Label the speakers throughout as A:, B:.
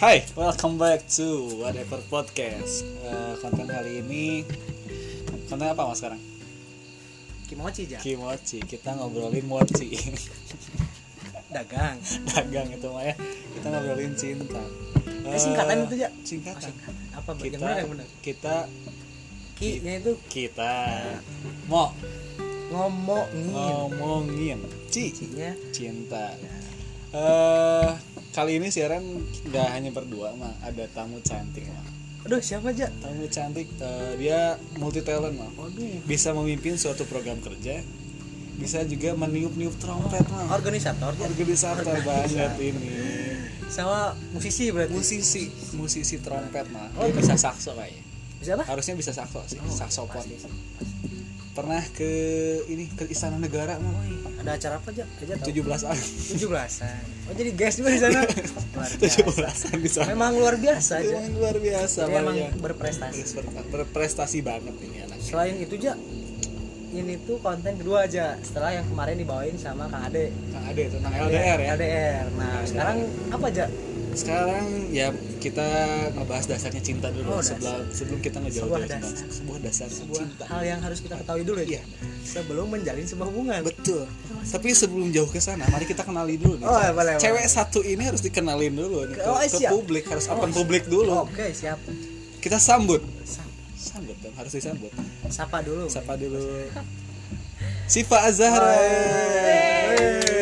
A: Hai, welcome back to Whatever Podcast. Eh, konten kali ini konten apa mas sekarang?
B: Kimochi ja
A: Kimochi. Kita ngobrolin mochi,
B: dagang
A: dagang itu mah ya. Kita ngobrolin cinta.
B: Eh, singkatan itu, Ja.
A: Singkatan.
B: Oh, singkatan. apa
A: Kita,
B: yang benar yang benar
A: kita,
B: ki nya itu
A: kita mau Oh.
B: ngomongin Ya.
A: ngomongin ci
B: ki nya
A: cinta. Eh kali ini siaran nggak hanya berdua mah, ada tamu cantik mah.
B: aduh siapa ja
A: Tamu cantik, eh, dia multi talent mah.
B: waduh
A: bisa memimpin suatu program kerja bisa juga meniup-niup trompet Mang.
B: organisator Ja.
A: organisator banget ini
B: sama musisi berarti
A: musisi musisi trompet mah
B: Oh,
A: dia bisa sakso kayaknya
B: bisa apa
A: harusnya bisa sakso sih
B: Oh,
A: saksofon
B: pasti.
A: pernah ke ini ke istana negara mah
B: ada acara apa ja aja tahu
A: 17-an
B: tujuh belasan oh jadi guys juga di sana luar biasa
A: 17-an di sana
B: memang luar biasa aja
A: Emang luar biasa
B: dia emang
A: makanya.
B: berprestasi
A: Berprestasi- berprestasi banget ini anak
B: selain itu ja ini tuh konten kedua aja setelah yang kemarin dibawain sama Kang Ade
A: Kang Ade tentang LDR ya
B: LDR nah sekarang apa aja
A: sekarang ya kita ngebahas dasarnya cinta dulu
B: Oh, dasar.
A: sebelum sebelum kita ngejauh
B: Sebuah
A: dari cinta.
B: dasar.
A: sebuah dasar
B: sebuah
A: cinta
B: hal yang harus kita ketahui dulu ya
A: Iya.
B: sebelum menjalin sebuah hubungan
A: betul tapi sebelum jauh ke sana mari kita kenali dulu nih
B: Oh, ya, boleh,
A: cewek satu ini harus dikenalin dulu nih, ke,
B: Oh,
A: ke
B: siap.
A: publik harus
B: Oh,
A: open
B: siap.
A: publik dulu
B: oke siap
A: kita sambut
B: Sa-
A: sambut dong harus disambut
B: sapa dulu
A: sapa dulu Siva Azhara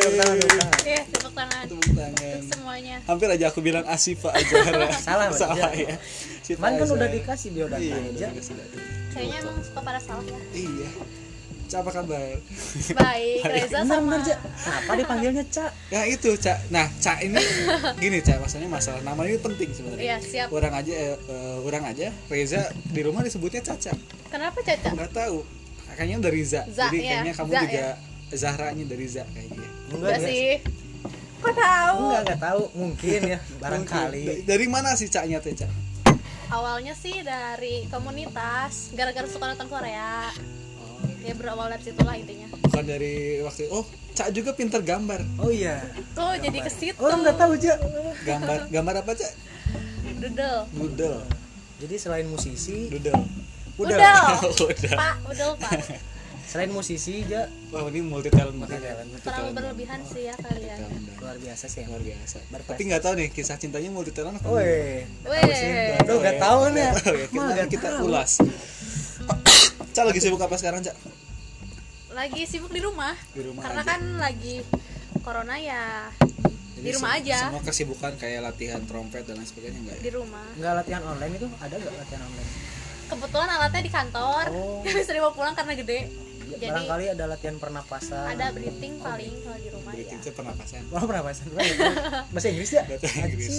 B: Tepuk tangan, tepuk tangan.
C: Iya, tepuk tangan
A: tepuk tangan
C: untuk semuanya.
A: hampir aja aku bilang Asifa Azhara
B: Salah, Mbak.
A: salah ya Siva
B: Cuman kan udah
A: Azhara.
B: dikasih biodata
A: Iya,
B: aja.
A: udah dikasih data.
C: Kayaknya emang suka pada salah ya.
A: Iya. Ca, apa kabar?
C: Baik, Reza
B: Benar
C: sama
B: benar Cak. Kenapa dipanggilnya Cak?
A: Nah itu Ca. Nah Ca ini gini Ca, maksudnya masalah nama ini penting
C: Iya,
A: sebenarnya.
C: siap.
A: Orang aja, eh, eh, orang aja Reza di rumah disebutnya Caca.
C: Kenapa Caca?
A: Nggak tahu. Kayaknya dari Za.
C: Za,
A: Jadi
C: iya.
A: kayaknya kamu
C: Za, iya.
A: juga Zahranya dari Za gitu kayaknya.
C: Enggak
B: ya.
C: sih. Kok tahu?
B: Enggak enggak tahu, mungkin ya barangkali.
A: Mungkin. Da- Dari mana sih Ca-nya teh Ca?
C: Awalnya sih dari komunitas, gara-gara suka nonton Korea. Ya berawal dari situlah intinya.
A: Bukan dari waktu oh Ca juga pinter gambar.
B: Oh iya.
C: Kok jadi ke situ?
B: Orang Oh, enggak tahu Cak.
A: Gambar gambar apa Ca?
C: Dudel.
A: Doodle.
B: Jadi selain musisi,
A: Doodle.
B: Udel.
A: Udah.
C: Pak, udel, Pak.
B: selain musisi Cak,
A: Wah ini multi talent banget.
B: jalan
C: Terlalu berlebihan sih ya kalian.
B: luar biasa sih.
A: luar biasa
B: Berprestasi.
A: tapi nggak tahu nih kisah cintanya mau diterang apa
C: Oh,
A: enggak?
B: Woi,
C: Weh.
B: Aduh, nggak tahu nih.
A: Nggak tahu ya,
B: Mah,
A: kita,
B: nggak
A: kita
B: tahu.
A: ulas Cak lagi sibuk apa sekarang Cak?
C: Lagi sibuk di rumah.
A: Di rumah
C: Karena
A: aja.
C: kan lagi corona ya
A: Jadi
C: di rumah
A: se-
C: aja.
A: Semua kesibukan kayak latihan trompet dan lain sebagainya enggak ya?
C: di rumah.
B: Enggak latihan online itu ada enggak latihan online?
C: kebetulan alatnya di kantor
B: Oh.
C: bisa dibawa pulang karena gede
B: Ya,
C: jadi
B: barangkali ada latihan pernapasan.
C: ada breathing paling kalau di rumah
A: Jadi
C: ya
A: itu pernapasan
B: Orang pernapasan bahasa Inggris Ah, ya?
A: Bahasa Inggris.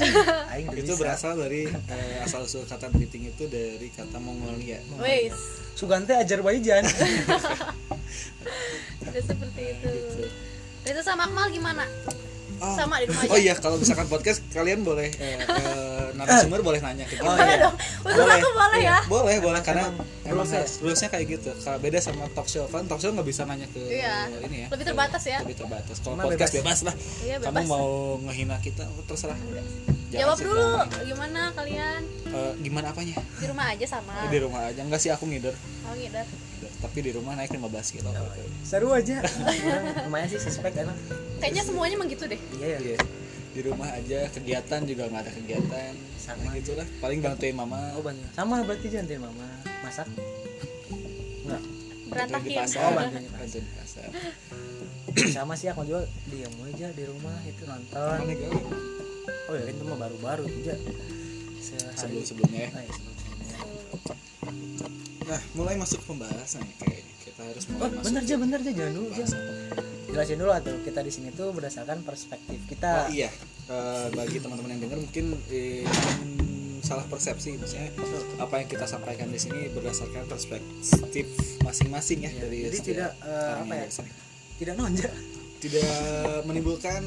B: Aing
A: itu berasal dari eh, asal usul kata breathing itu dari kata Mongolia
C: Wes,
B: Sugante Azerbaijan.
C: udah seperti itu. Reza sama Akmal gimana?
A: Oh.
C: Sama di rumah aja.
A: Oh iya, kalau misalkan podcast kalian boleh eh, eh, narasumber boleh nanya ke kita.
B: Oh,
C: Boleh dong. Usul aku boleh ya.
A: Iya, Boleh, boleh karena emang
B: Rules ya?
A: harus- rulesnya kayak gitu. Kalau beda sama talk show kan talk show nggak bisa nanya ke
C: Iya.
A: ini ya.
C: Lebih
A: ke-
C: terbatas ya.
A: Lebih terbatas. Kalau
B: Emang
A: podcast bebas, lah.
C: Iya,
A: Kamu
C: bebas. Iya.
A: mau ngehina kita oh, terserah. Jangan
C: Jawab
A: sih,
C: dulu
A: jangan.
C: gimana kalian?
A: Eh, gimana apanya? Eh,
C: Di rumah aja sama.
A: Oh, Di rumah aja enggak sih aku ngider.
C: Oh ngidar.
A: Tapi di rumah naik 15 kilo.
B: Seru aja. Lumayan sih suspek enak.
C: Kayaknya semuanya emang gitu deh.
B: Iya ya.
A: Iya. Di rumah aja kegiatan juga nggak ada kegiatan.
B: Sama.
A: Nah, gitulah. Paling bantuin mama.
B: Oh bantuin. Sama berarti jantin mama masak. Enggak.
A: bantuin di
C: Berantakin.
A: pasar.
B: Oh, bantuin di pasar.
A: Bantuin di pasar.
B: Sama sih aku juga diam aja di rumah itu
A: Mana
B: nonton.
A: nih, Gal?
B: Oh ya itu mah baru-baru aja. Sehari.
A: Sebelum-sebelumnya ya.
B: Ah, iya, sebelum-sebelumnya.
A: Nah, mulai masuk pembahasan nih kayaknya. Kita harus mulai
B: Oh,
A: masuk.
B: bener aja, bener aja, jangan dulu aja.
A: pembahasan.
B: Jelasin dulu atau kita di sini tuh berdasarkan perspektif kita.
A: Oh, iya. Eh, bagi teman-teman yang dengar mungkin eh, salah persepsi maksudnya apa yang kita sampaikan di sini berdasarkan perspektif masing-masing ya,
B: Iya,
A: dari
B: jadi
A: setiap
B: tidak, eh,
A: orang
B: apa
A: yang
B: ya?
A: ada di sini.
B: Tidak nonjak,
A: tidak menimbulkan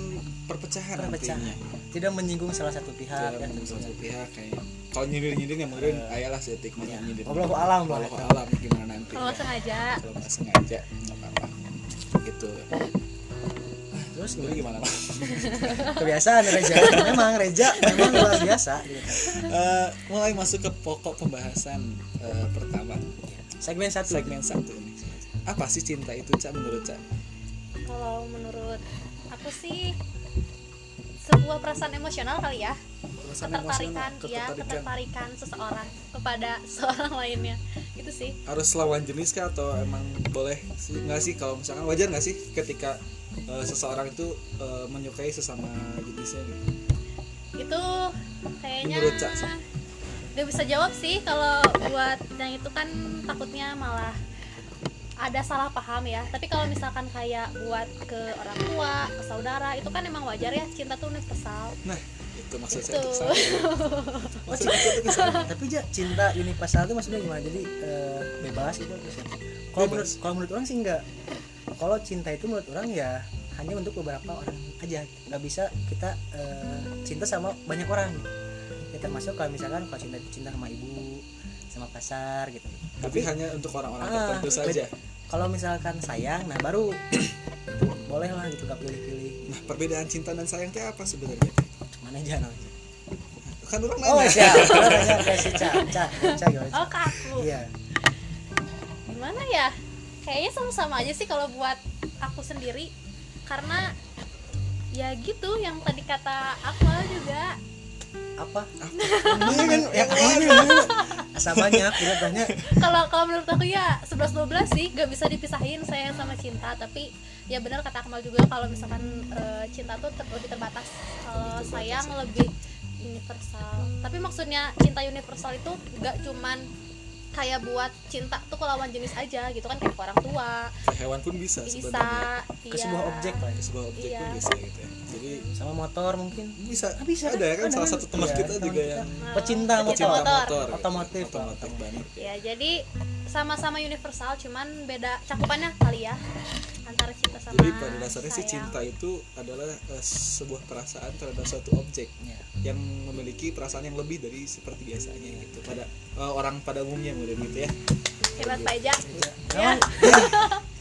A: perpecahan
B: Perpecahan.
A: nantinya
B: tidak menyinggung salah satu pihak.
A: tidak
B: ya,
A: menimbulkan
B: tentunya.
A: satu pihak kayaknya kalau nyindir-nyindir ya mungkin
B: Iya.
A: ayalah setik banyak nyindir
B: Wallahu alam lah.
A: Wallahu alam gimana nanti ya?
C: Kalau nggak sengaja.
A: kalau nggak sengaja nggak apa-apa gitu Ah,
B: terus
A: Jadi
B: gimana?
A: gimana?
B: kebiasaan Reja memang Reja memang luar biasa gitu.
A: Eh, mulai masuk ke pokok pembahasan eh, pertama
B: Iya. segmen satu
A: segmen satu ini. Apa sih cinta itu cak menurut cak?
C: kalau menurut aku sih sebuah perasaan emosional kali ya
A: Perasaan
C: ketertarikan
A: emosional,
C: ya ketertarikan seseorang kepada seorang lainnya itu sih
A: harus lawan jenis kah atau emang boleh sih nggak sih kalau misalkan wajar nggak sih ketika eh, seseorang itu eh, menyukai sesama jenisnya gitu?
C: itu kayaknya
A: Menurut Cak, Cak.
C: gak bisa jawab sih kalau buat yang itu kan takutnya malah ada salah paham ya tapi kalau misalkan kayak buat ke orang tua ke saudara itu kan emang wajar ya cinta tuh universal
A: Nah itu maksud saya
C: Itu.
A: tuh kesana. Maksud saya tuh kesana.
B: tapi ja cinta universal itu maksudnya gimana jadi eh, bebas gitu terus ya. kalau
A: Bebas.
B: menurut kalau menurut orang sih enggak kalau cinta itu menurut orang ya hanya untuk beberapa orang aja nggak bisa kita eh, cinta sama banyak orang ya termasuk kalau misalkan kalau cinta itu cinta sama ibu sama pasar gitu
A: Tapi hanya untuk orang-orang
B: Ah,
A: tertentu saja.
B: kalau misalkan sayang nah baru itu boleh lah gitu gak pilih-pilih
A: Nah perbedaan cinta dan sayang itu apa sebenarnya?
B: mana aja nah.
A: Kan orang
B: oh
A: nanya.
B: siap Kalau nanya ke si Ca Ca Ca gimana Ca?
C: oh ke aku
B: iya
C: gimana ya kayaknya sama-sama aja sih kalau buat aku sendiri karena ya gitu yang tadi kata Akmal juga
B: apa ini kan yang ini kan asa banyak kita tanya
C: kalau kalau menurut aku ya 11-12 sih gak bisa dipisahin sayang sama cinta tapi ya benar kata Akmal juga kalau misalkan eh, cinta tuh ter- lebih terbatas kalau sayang lebih universal tapi maksudnya cinta universal itu gak cuman kayak buat cinta tuh ke lawan jenis aja gitu kan kayak ke orang tua
A: Ke Hewan pun bisa sebenarnya.
C: bisa
B: ke sebuah
C: iya.
B: objek lah
A: Ke
B: ya.
A: sebuah objek pun
C: Iya.
A: bisa gitu ya. Jadi
B: sama motor mungkin
A: bisa,
B: Ah, bisa
A: ada ya kan salah satu teman
B: Iya,
A: kita
B: teman
A: juga
B: kita.
A: yang
B: pecinta
C: Pecinta
B: motor
A: pecinta
C: Nah, motor.
A: motor, gitu.
B: Otomotif.
A: otomotif banget
C: Ya, jadi sama-sama universal, cuman beda cakupannya kali ya antara cinta sama
A: Jadi pada dasarnya
B: ya.
A: sih
C: sayang.
A: cinta itu adalah eh, sebuah perasaan terhadap suatu objek
B: Iya.
A: yang memiliki perasaan yang lebih dari seperti biasanya gitu pada eh, orang pada umumnya model gitu ya.
C: Hebat Pak Eja.
A: Iya.
C: Ya.
B: Emang-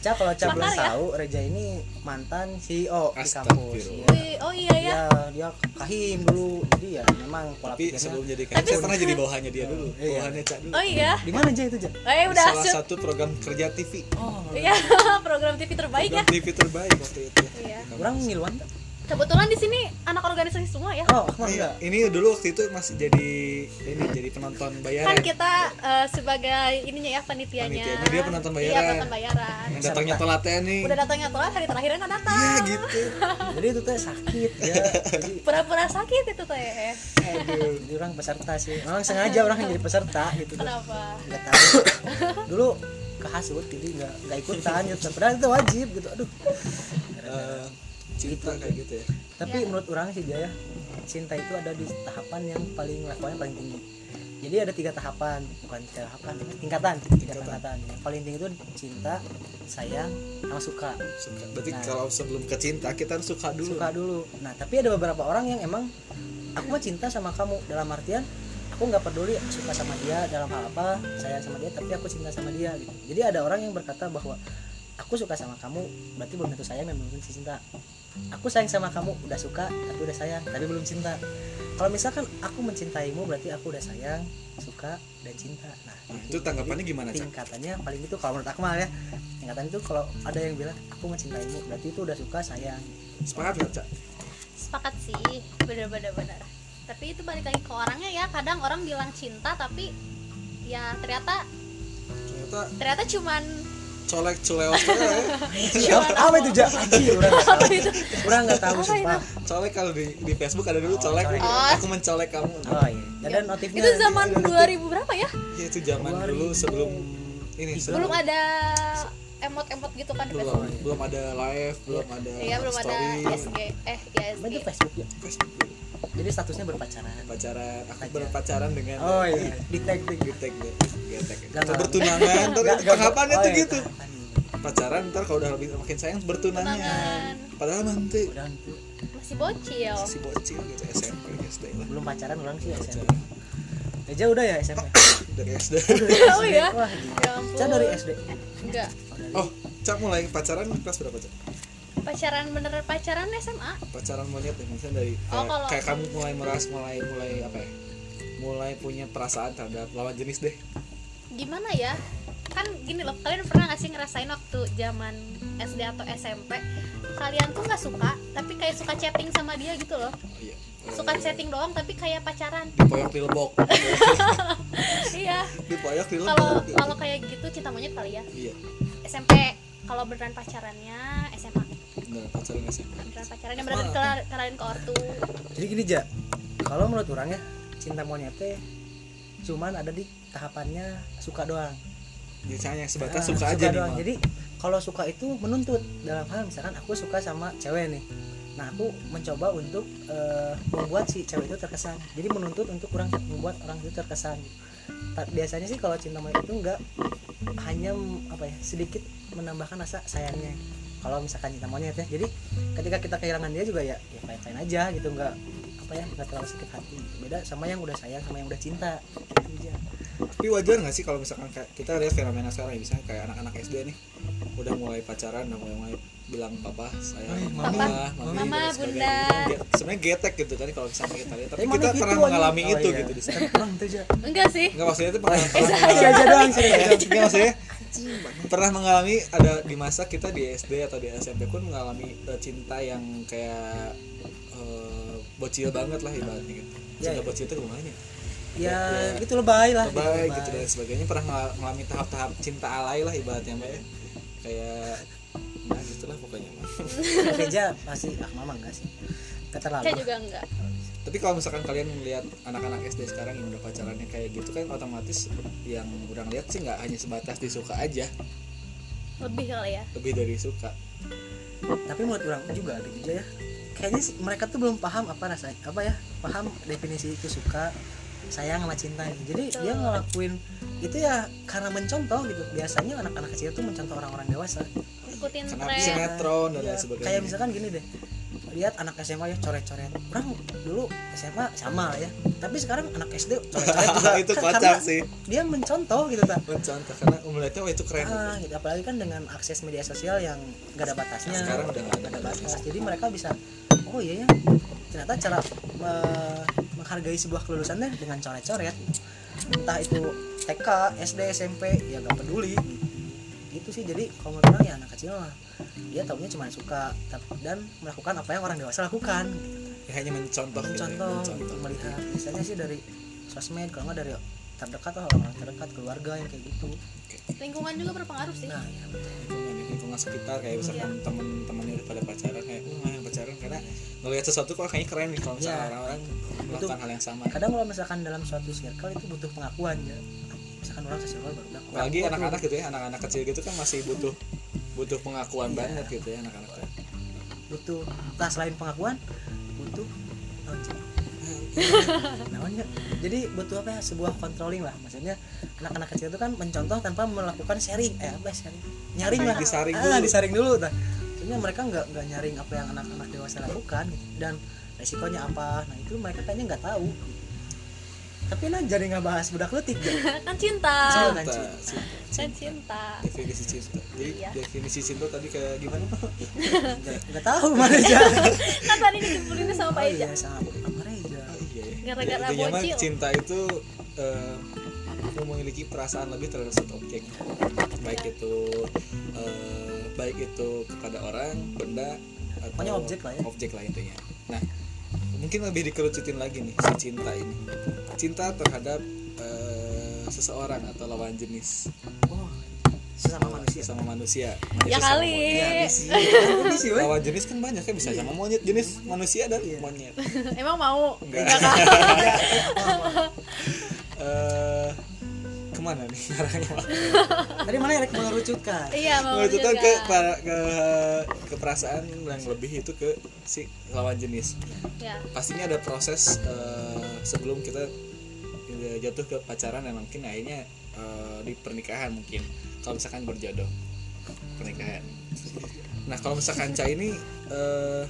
B: Ca Iya. kalau Ca belum
C: Sebentar ya.
B: tahu Reja ini mantan CEO di kampus
A: Astagfirullah.
B: Iya.
C: Wih, oh iya ya.
B: ya dia kahim dulu jadi ya memang pola
A: Tapi sebelum
B: pikirnya
A: jadi kayak saya pernah jadi bawahannya dia dulu,
B: Iya. ya
A: bawahannya Cak dulu.
C: Oh iya.
B: di mana aja itu aja
C: Oh iya udah
A: Salah
C: shoot.
A: satu program kerja TV.
B: oh
C: Iya, program TV terbaik ya.
A: Program TV terbaik waktu itu.
C: Iya.
B: orang ngiluan tak?
C: Kebetulan di sini anak organisasi semua ya.
B: oh kamu
A: Iya,
B: enggak
A: ini dulu waktu itu masih jadi ini jadi penonton bayaran.
C: Kan kita eh, sebagai ininya ya panitianya.
A: Panitianya, dia penonton
C: Iya,
A: bayaran.
C: penonton bayaran.
A: yang datangnya telat ya nih.
C: Udah datangnya telat hari terakhirnya nggak datang.
A: Iya gitu.
B: jadi itu teh sakit ya jadi
C: Pura-pura sakit itu E. teh.
A: Aduh.
B: jadi orang peserta sih orang sengaja orang yang jadi peserta gitu tuh.
C: Kenapa?
B: nggak tahu dulu kehasut jadi nggak nggak ikutan gitu padahal itu wajib gitu aduh
A: Eh, cinta kayak gitu ya.
B: tapi
C: Ya.
B: menurut orang sih dia ya cinta itu ada di tahapan yang paling levelnya paling tinggi jadi ada tiga tahapan bukan tiga tahapan tingkatan tiga
A: Tingkatan.
B: tingkatan yang paling tinggi itu cinta sayang sama suka
A: suka berarti
B: Nah.
A: kalau sebelum ke cinta kita harus suka dulu
B: suka dulu nah tapi ada beberapa orang yang emang aku mah cinta sama kamu dalam artian aku nggak peduli suka sama dia dalam hal apa sayang sama dia tapi aku cinta sama dia gitu jadi ada orang yang berkata bahwa aku suka sama kamu berarti belum tentu sayang dan belum tentu cinta aku sayang sama kamu udah suka tapi udah sayang tapi belum cinta kalau misalkan aku mencintaimu berarti aku udah sayang suka dan cinta nah
A: Nah, itu tanggapannya gimana cak
B: tingkatannya paling itu kalau menurut Akmal ya tingkatan itu kalau ada yang bilang aku mencintaimu berarti itu udah suka sayang
A: sepakat nggak cak
C: sepakat sih bener-bener bener tapi itu balik lagi ke orangnya ya kadang orang bilang cinta tapi ya ternyata
A: ternyata
C: ternyata cuman
A: colek culeos ya
B: apa, apa itu ja Aji, orang nggak tahu orang nggak tahu
C: Apa
B: sumpah
A: colek kalau di di Facebook ada dulu
B: Oh,
A: colek
B: colek.
A: aku mencolek kamu
B: oh iya ada notifnya
C: ya.
B: Iya.
C: itu zaman 2000 berapa ya
A: ya, itu zaman dulu sebelum ini sebelum
C: belum ada emot-emot gitu kan di
A: belum
C: Facebook
A: belum ada live belum ada
C: iya belum ada
A: story
C: SG eh ya
B: Apa
C: SG
B: itu Facebook ya
A: Facebook dulu.
B: jadi statusnya berpacaran
A: pacaran aku
B: Pacaran.
A: berpacaran dengan
B: oh iya di tag tag
A: getek deh getek
B: Nggak,
A: Atau
B: nggak.
A: bertunangan ntar
B: Nggak,
A: itu
B: nggak,
A: tanggapannya
B: oh
A: tuh
B: iya,
A: gitu
B: tanggapan.
A: pacaran ntar kalau udah lebih makin sayang bertunangan
C: Tunangan.
A: padahal nanti
B: udah tuh,
C: masih bocil
A: si bocil gitu SMP SD lah
B: belum pacaran orang sih SMP
A: Pacaran.
B: Reja udah ya SMP
A: dari SD
C: oh ya
B: wah gila
C: ya
B: Ca
C: ampun
B: dari SD
C: enggak
A: oh cak mulai pacaran kelas berapa cak
C: pacaran beneran pacaran SMA
A: pacaran monyet ya maksudnya dari
C: Oh,
A: kayak,
C: kalau-
A: kayak kamu mulai meras mulai mulai apa ya mulai punya perasaan terhadap lawan jenis deh
C: gimana ya kan gini loh kalian pernah gak sih ngerasain waktu zaman SD atau SMP kalian tuh nggak suka tapi kayak suka chatting sama dia gitu
A: oh,
C: loh
A: iya
C: suka chatting doang tapi kayak pacaran
A: dipoyok di lebok
C: iya
A: dipoyok di lebok
C: kalau kalau kayak gitu cinta monyet kali ya
A: iya
C: SMP kalau beneran pacarannya SMA
A: bener pacaran SMA
C: beneran pacarannya beneran kela- kalian ke ortu
B: jadi gini ja kalau menurut orang ya cinta monyet teh cuman ada di tahapannya suka doang
A: jadi hanya sebatas
B: Ah,
A: suka, aja nih
B: doang.
A: Mal.
B: jadi kalau suka itu menuntut dalam hal misalkan aku suka sama cewek nih nah aku mencoba untuk eh, membuat si cewek itu terkesan jadi menuntut untuk orang membuat orang itu terkesan Ta- biasanya sih kalau cinta monyet itu enggak hanya mm, apa ya sedikit menambahkan rasa sayangnya kalau misalkan cinta monyet ya jadi ketika kita kehilangan dia juga ya ya fine fine aja gitu nggak apa ya nggak terlalu sakit hati beda sama yang udah sayang sama yang udah cinta Gitu aja.
A: tapi wajar nggak sih kalau misalkan kayak kita lihat fenomena sekarang ya misalnya kayak anak-anak SD nih udah mulai pacaran udah mulai, mulai bilang papa saya
B: Ay,
A: mama
C: Papa,
A: mami,
C: Mama,
A: dan sebagainya.
C: Bunda.
A: Jadi dia- sebenarnya getek gitu kan kalau misalkan kita lihat tapi
B: Emang
A: kita
B: gitu,
A: pernah
B: anjing?
A: mengalami
B: Oh,
A: itu
B: iya.
A: gitu di sana
B: Orang tuh aja.
C: enggak sih
A: nggak maksudnya itu pernah
B: Eh,
A: pernah
B: aja aja doang sih.
A: Nggak, maksudnya pernah mengalami ada di masa kita di SD atau di SMP pun mengalami eh, cinta yang kayak eh, bocil banget lah ibaratnya gitu.
B: Ya,
A: Cinta
B: ya.
A: bocil itu gimana? ya?
B: ya
A: Ya.
B: gitu lebay lah
A: Lebay
B: lebay.
A: gitu dan sebagainya pernah ngel- mengalami tahap-tahap cinta alay lah ibaratnya mbak ya. Kayak nah gitulah pokoknya. Mbak.
B: Tapi Ja, pasti ah mama enggak sih
C: saya
B: keterlaluan
C: juga enggak
A: Tapi kalau misalkan kalian melihat anak-anak SD sekarang yang udah pacarannya kayak gitu kan otomatis yang udah lihat sih nggak hanya sebatas disuka aja,
C: lebih kali ya
A: lebih dari suka.
B: tapi menurut orang juga gitu aja ya kayaknya sih mereka tuh belum paham apa rasanya apa ya paham definisi itu suka sayang sama cinta gitu. jadi
C: Betul.
B: dia ngelakuin itu ya karena mencontoh gitu biasanya anak-anak kecil tuh mencontoh orang-orang dewasa
C: ikutin
A: Karena
C: tren
A: bisa- Sinetron dan
B: Iya.
A: lain sebagainya.
B: kayak misalkan gini deh lihat anak SMA ya coret-coret orang dulu SMA sama lah ya tapi sekarang anak SD coret-coret juga
A: itu
B: Kan
A: kocak
B: karena
A: sih.
B: dia mencontoh gitu kan
A: Mencontoh karena melihatnya wah itu keren. gitu.
B: Ah, gitu. apalagi kan dengan akses media sosial yang gak ada batasnya
A: Nah, Sekarang udah nggak ada
B: batas jadi mereka bisa oh iya ya ternyata cara eh, menghargai sebuah kelulusan deh dengan coret-coret entah itu TK SD SMP ya gak peduli gitu sih jadi kalau menurut orang ya anak kecil mah dia taunya cuma suka tap- dan melakukan apa yang orang dewasa lakukan
A: Ya, hanya mencontoh, gitu ya,
B: contoh
A: mencontoh.
B: untuk melihat biasanya sih dari sosmed kalau nggak dari terdekat lah orang terdekat keluarga yang kayak gitu
C: lingkungan juga berpengaruh sih
B: nah ya
A: lingkungan lingkungan sekitar kayak misalkan teman-temannya udah pada pacaran kayak wah yang pacaran karena ngelihat sesuatu kok kayaknya keren nih kalau misalkan
B: Iya.
A: orang-orang melakukan hal yang sama
B: kadang kalau misalkan dalam suatu circle itu butuh pengakuan ya misalkan orang ke circle baru ngaku
A: apalagi anak-anak gitu ya anak-anak kecil gitu kan masih butuh butuh pengakuan
B: Iya.
A: banget gitu ya anak-anak tuh.
B: butuh nah selain pengakuan butuh naon sih? Naon ya? jadi butuh apa ya sebuah controlling lah maksudnya anak-anak kecil itu kan mencontoh tanpa melakukan sharing eh apa ya, sharing nyaring lah
A: Kayak disaring
B: ah,
A: dulu.
B: disaring dulu tah sebenarnya mereka nggak nggak nyaring apa yang anak-anak dewasa lakukan gitu. dan resikonya apa nah itu mereka kayaknya nggak tahu gitu. tapi nah jadi nggak bahas budak letik ya.
C: kan cinta
B: Cinta.
A: Cinta, cinta,
C: kan
A: cinta.
C: cinta
A: definisi cinta jadi
C: Iya.
A: definisi cinta tadi kayak gimana pak
B: nggak nggak tahu mana aja
C: kan tadi disimpulinnya sama Pak
B: Oh
C: Eja
B: iya, sama sama Reja.
A: Oh, iya ya.
C: Gara-gara
A: Ya, intinya mah
C: bocil.
A: cinta itu eh, memiliki perasaan lebih terhadap suatu objek baik
C: Iya.
A: itu eh, baik itu kepada orang benda atau
B: Pokoknya objek lah ya.
A: objek lah intinya nah mungkin lebih dikerucutin lagi nih si cinta ini cinta terhadap eh, seseorang atau lawan jenis
B: Oh, sesama manusia.
C: Eh.
A: sama manusia
C: ya
A: Sesama
C: kali
A: monyet.
B: Ini sih, weh.
A: lawan jenis kan banyak kan bisa sama monyet jenis manusia dan
B: Iya.
A: monyet
C: emang mau
A: Enggak. Eh, kemana nih arahnya Pak?
B: Tadi mana yang mengerucutkan?
C: iya mau
A: Menurutnya
C: juga
A: ke, para- ke ke perasaan yang lebih itu ke si lawan jenis.
C: ya
A: Pastinya ada proses eh, sebelum kita eh, jatuh ke pacaran dan mungkin akhirnya eh, di pernikahan mungkin. Kalau misalkan berjodoh pernikahan. Nah kalau misalkan Ca ini eh,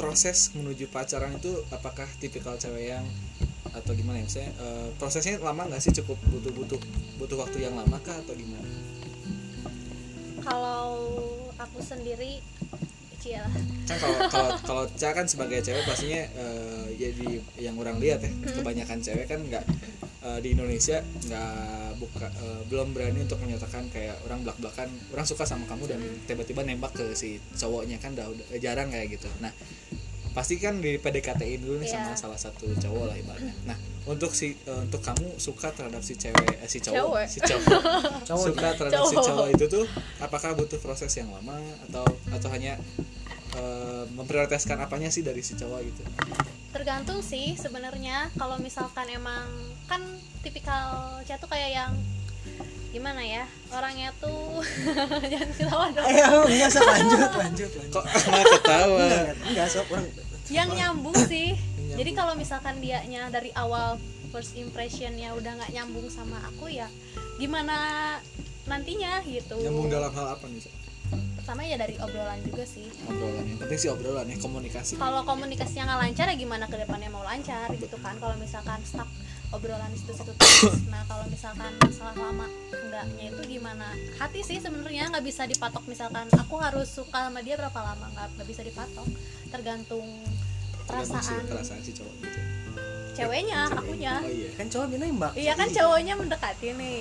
A: proses menuju pacaran itu apakah tipikal cewek yang atau gimana ya misalnya eh, prosesnya lama nggak sih cukup butuh butuh butuh waktu yang lama kah atau gimana?
C: kalau aku sendiri cia lah
A: kan kalau kalau kalau Ca kan sebagai cewek pastinya eh, ya di yang orang lihat ya kebanyakan cewek kan nggak eh, di Indonesia nggak buka eh, belum berani untuk menyatakan kayak orang belak belakan orang suka sama kamu dan tiba-tiba nembak ke si cowoknya kan udah, udah eh, jarang kayak gitu nah pasti kan di PDKT dulu nih sama
C: Iya.
A: salah satu cowok lah ibaratnya nah untuk si eh, untuk kamu suka terhadap si cewek eh, si cowok
C: Cewek.
A: si cowok
B: Cowok
A: suka terhadap si
C: Cowok.
A: cowok itu tuh apakah butuh proses yang lama atau atau hanya eh, memprioritaskan apanya sih dari si cowok gitu
C: tergantung sih sebenarnya kalau misalkan emang kan tipikal chat tuh kayak yang gimana ya orangnya tuh jangan ketawa dong
B: Eh, enggak sok lanjut, lanjut, lanjut.
A: kok malah Nah, ketawa
B: Enggak, enggak, enggak sok orang.
C: yang nyambung sih
A: Yang
C: jadi
A: nyambung.
C: kalau misalkan dianya dari awal first impressionnya udah nggak nyambung sama aku ya gimana nantinya gitu
A: nyambung dalam hal apa nih Sa?
C: pertama ya dari obrolan juga sih
A: obrolan yang penting sih obrolan ya komunikasi
C: kalau komunikasinya nggak lancar ya gimana ke depannya mau lancar gitu kan kalau misalkan stuck obrolan di situ-situ terus nah kalau misalkan masalah lama enggaknya itu gimana hati sih sebenarnya nggak bisa dipatok misalkan aku harus suka sama dia berapa lama nggak nggak bisa dipatok tergantung
A: Tergantung si-
C: perasaan
A: perasaan si cowok gitu
C: ceweknya akunya
A: oh iya
B: Kan cowok dia nembak.
C: iya kan cowoknya mendekati nih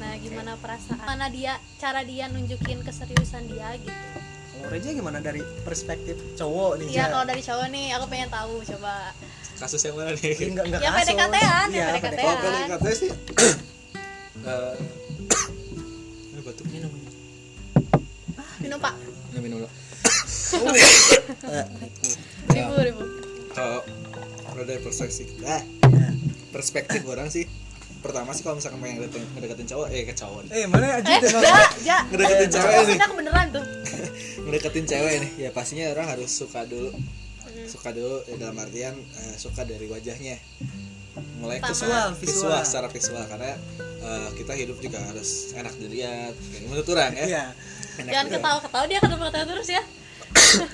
C: nah gimana perasaan mana dia cara dia nunjukin keseriusan dia gitu
B: Kalau Reja gimana dari perspektif cowok nih?
C: iya
B: Jar?
C: kalau dari cowok nih aku pengen tahu coba
A: kasus yang mana
B: Jadi
A: nih
B: enggak enggak
C: Ya,
B: kasus.
C: PDKT-an, ya,
B: Iya,
C: PDKT-an.
A: kalau PDKT sih eh, ini batuk minum
C: minum pak
A: ini minum dulu
B: Eh,
A: Ya.
C: ribu ribu
A: kalau kalau dari perspektif ah, perspektif orang sih pertama sih kalau misalkan pengen ngedeketin, ngedeketin cowok eh ke cowok nih.
B: Eh, mana
C: eh
B: aja
C: ja ja
A: Gitu, ngedeketin cewek nih
C: maksudnya aku beneran tuh
A: ngedeketin cewek nih ya pastinya orang harus suka dulu
C: Hmm.
A: suka dulu ya dalam artian eh, suka dari wajahnya mulai ke
B: Visual,
A: visual,
B: visual.
A: secara visual karena eh, kita hidup juga harus enak dilihat Kayak menurut orang ya
C: Eh?
B: Iya.
A: enak
C: jangan
A: dilihat.
C: ketawa ketawa dia ketawa ketawa terus ya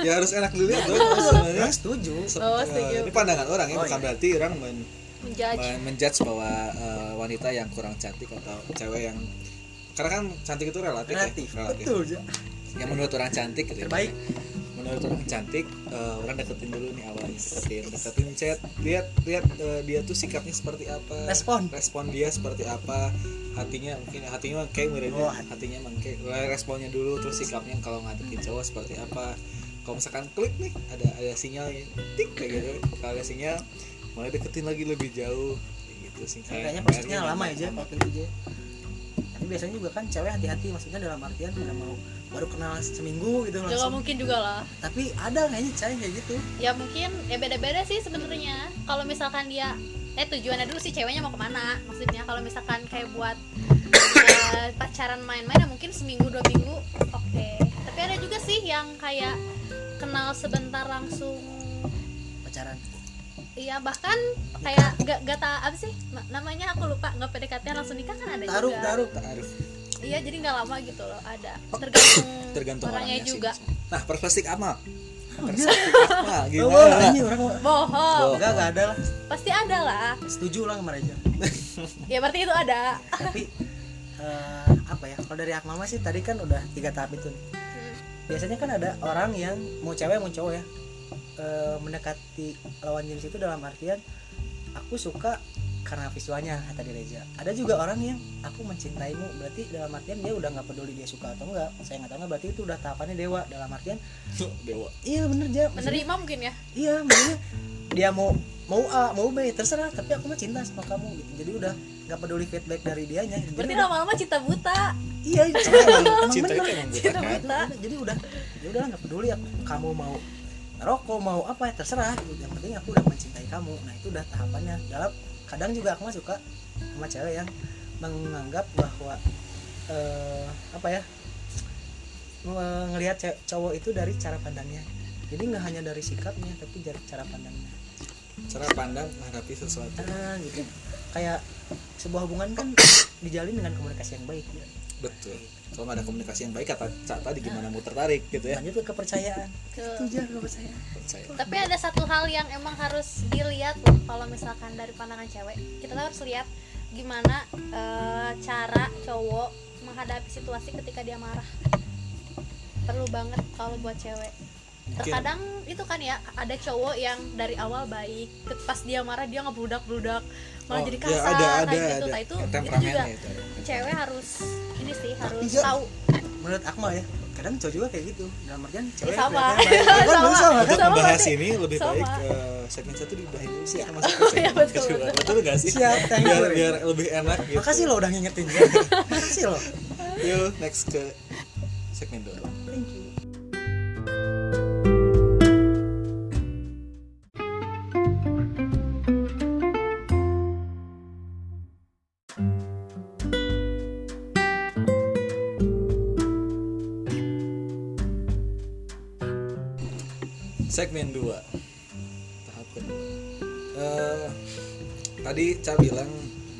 A: ya harus enak dilihat dong sebenarnya.
B: Enggak setuju.
A: Se-
C: Oh,
A: eh,
C: setuju.
A: ini pandangan orang ya
B: Oh,
A: bukan
B: iya.
A: berarti orang men-
C: menjudge
A: men- menjudge bahwa eh, wanita yang kurang cantik atau cewek yang karena kan cantik itu relatif, ya,
B: Relatif. Betul, Ja.
A: yang menurut orang cantik gitu ya.
B: Terbaik.
A: menurut orang cantik eh, orang deketin dulu nih awalnya deketin deketin chat lihat lihat eh, dia tuh sikapnya seperti apa
B: Respon.
A: respon dia seperti apa hatinya mungkin hatinya mah kayak mirip ya.
B: Oh, hati.
A: hatinya mangke responnya dulu terus sikapnya kalau ngadepin cowok seperti apa kalau misalkan klik nih ada ada sinyal ya, tik kayak gitu kalau ada sinyal mulai deketin lagi lebih jauh kayak gitu sih
B: Kayaknya
A: Kayak-
B: prosesnya
A: kayaknya
B: lama
A: nggak
B: aja kalau kayak gitu, Ja. Tapi biasanya juga kan cewek hati-hati maksudnya dalam artian nggak mau baru kenal seminggu gitu
C: juga
B: langsung.
C: mungkin juga lah
B: Tapi ada kayaknya cewek kayak gitu.
C: ya mungkin ya beda beda sih sebenarnya kalau misalkan dia eh tujuannya dulu sih ceweknya mau kemana maksudnya kalau misalkan kayak buat eh, pacaran main-main ya mungkin seminggu dua minggu oke tapi ada juga sih yang kayak kenal sebentar langsung
B: Pacaran.
C: Iya bahkan kayak gak, gak ta- apa sih Ma- namanya aku lupa nggak PDKT langsung nikah kan ada
B: Taruh,
C: juga.
B: taruh.
A: Ta'aruf.
C: Iya jadi nggak lama gitu loh ada tergantung,
A: tergantung
C: orangnya,
A: orangnya, sih.
C: juga.
A: nah perspektif amal
B: iya.
A: perspektif amal
B: Oh,
A: gimana
B: anjing, orang mau-
C: Bohong
A: Bohong.
B: Enggak, enggak ada lah.
C: pasti ada lah.
B: Setuju lah sama Reja.
C: Ya berarti itu ada.
B: tapi eh, apa ya kalau dari Akmal sih tadi kan udah tiga tahap itu nih.
C: Hmm.
B: biasanya kan ada orang yang mau cewek mau cowok ya eh, mendekati lawan jenis itu dalam artian aku suka karena visualnya kata di Reza ada juga orang yang aku mencintaimu berarti dalam artian dia udah nggak peduli dia suka atau enggak saya nggak tahu nggak berarti itu udah tahapannya dewa dalam artian
A: dewa
B: iya bener dia maksudnya-
C: Menerima mungkin ya.
B: iya maksudnya dia mau mau A mau B terserah tapi aku mah cinta sama kamu gitu jadi udah nggak peduli feedback dari dianya Jadi
C: Berarti
B: udah-
C: lama-lama cinta buta.
B: iya cinta emang, emang
A: cinta
B: bener
A: itu emang buta
C: Cinta
A: kan
C: buta.
B: Nah, jadi udah ya udah nggak peduli aku kamu mau rokok mau apa ya terserah gitu. yang penting aku udah mencintai kamu nah itu udah tahapannya dalam kadang juga aku mah suka sama cewek yang menganggap bahwa eh, apa ya melihat cowok itu dari cara pandangnya jadi nggak hanya dari sikapnya tapi dari cara pandangnya
A: cara pandang menghadapi sesuatu
B: nah, gitu kayak sebuah hubungan kan dijalin dengan komunikasi yang baik ya.
A: betul kalau nggak ada komunikasi yang baik kata Ca tadi gimana mau tertarik gitu ya
B: lanjut ke kepercayaan
C: Tuh.
B: itu aja kepercayaan
A: percaya
C: Tapi ada satu hal yang emang harus dilihat loh kalau misalkan dari pandangan cewek. Kita tuh harus lihat gimana eh, cara cowok menghadapi situasi ketika dia marah. Perlu banget kalau buat cewek.
A: Mungkin.
C: terkadang itu kan ya ada cowok yang dari awal baik ke- pas dia marah dia ngebludak bludak malah
A: Oh,
C: jadi
A: ya, ada
C: kasar
A: ada
C: kayak gitu
A: ada
C: Nah, itu itu
A: temperamennya ya,
C: juga
A: itu ada.
C: cewek harus ini sih harus
B: Iya.
C: tahu
B: menurut Akmal ya kadang cowok juga kayak gitu dalam artian cewek
C: sama.
B: kelihatannya baik. Ya kan,
C: Sama.
B: sama kan?
A: untuk
C: Sama
A: membahas
C: berarti.
A: ini lebih
C: Sama.
A: baik eh, segmen satu diudahin dulu sih sama segmen
C: iya,
A: kedua.
C: betul, betul.
A: gak sih
B: Siap, thank you.
A: biar biar lebih enak gitu
B: makasih lo udah ngingetin ya. makasih lo
A: yuk next ke segmen dua
B: thank you
A: segmen 2 tahap kedua Eh, tadi Ca bilang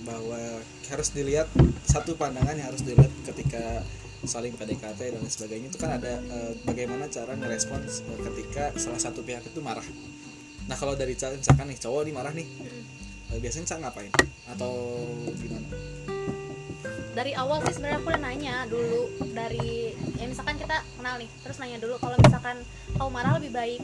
A: bahwa harus dilihat satu pandangan yang harus dilihat ketika saling PDKT dan lain sebagainya itu kan ada eh, bagaimana cara ngerespons eh, ketika salah satu pihak itu marah nah kalau dari Ca misalkan nih cowok nih marah nih eh, biasanya Ca ngapain atau gimana
C: dari awal sih sebenarnya aku udah nanya dulu dari ya misalkan kita kenal nih terus nanya dulu kalau misalkan kau marah lebih baik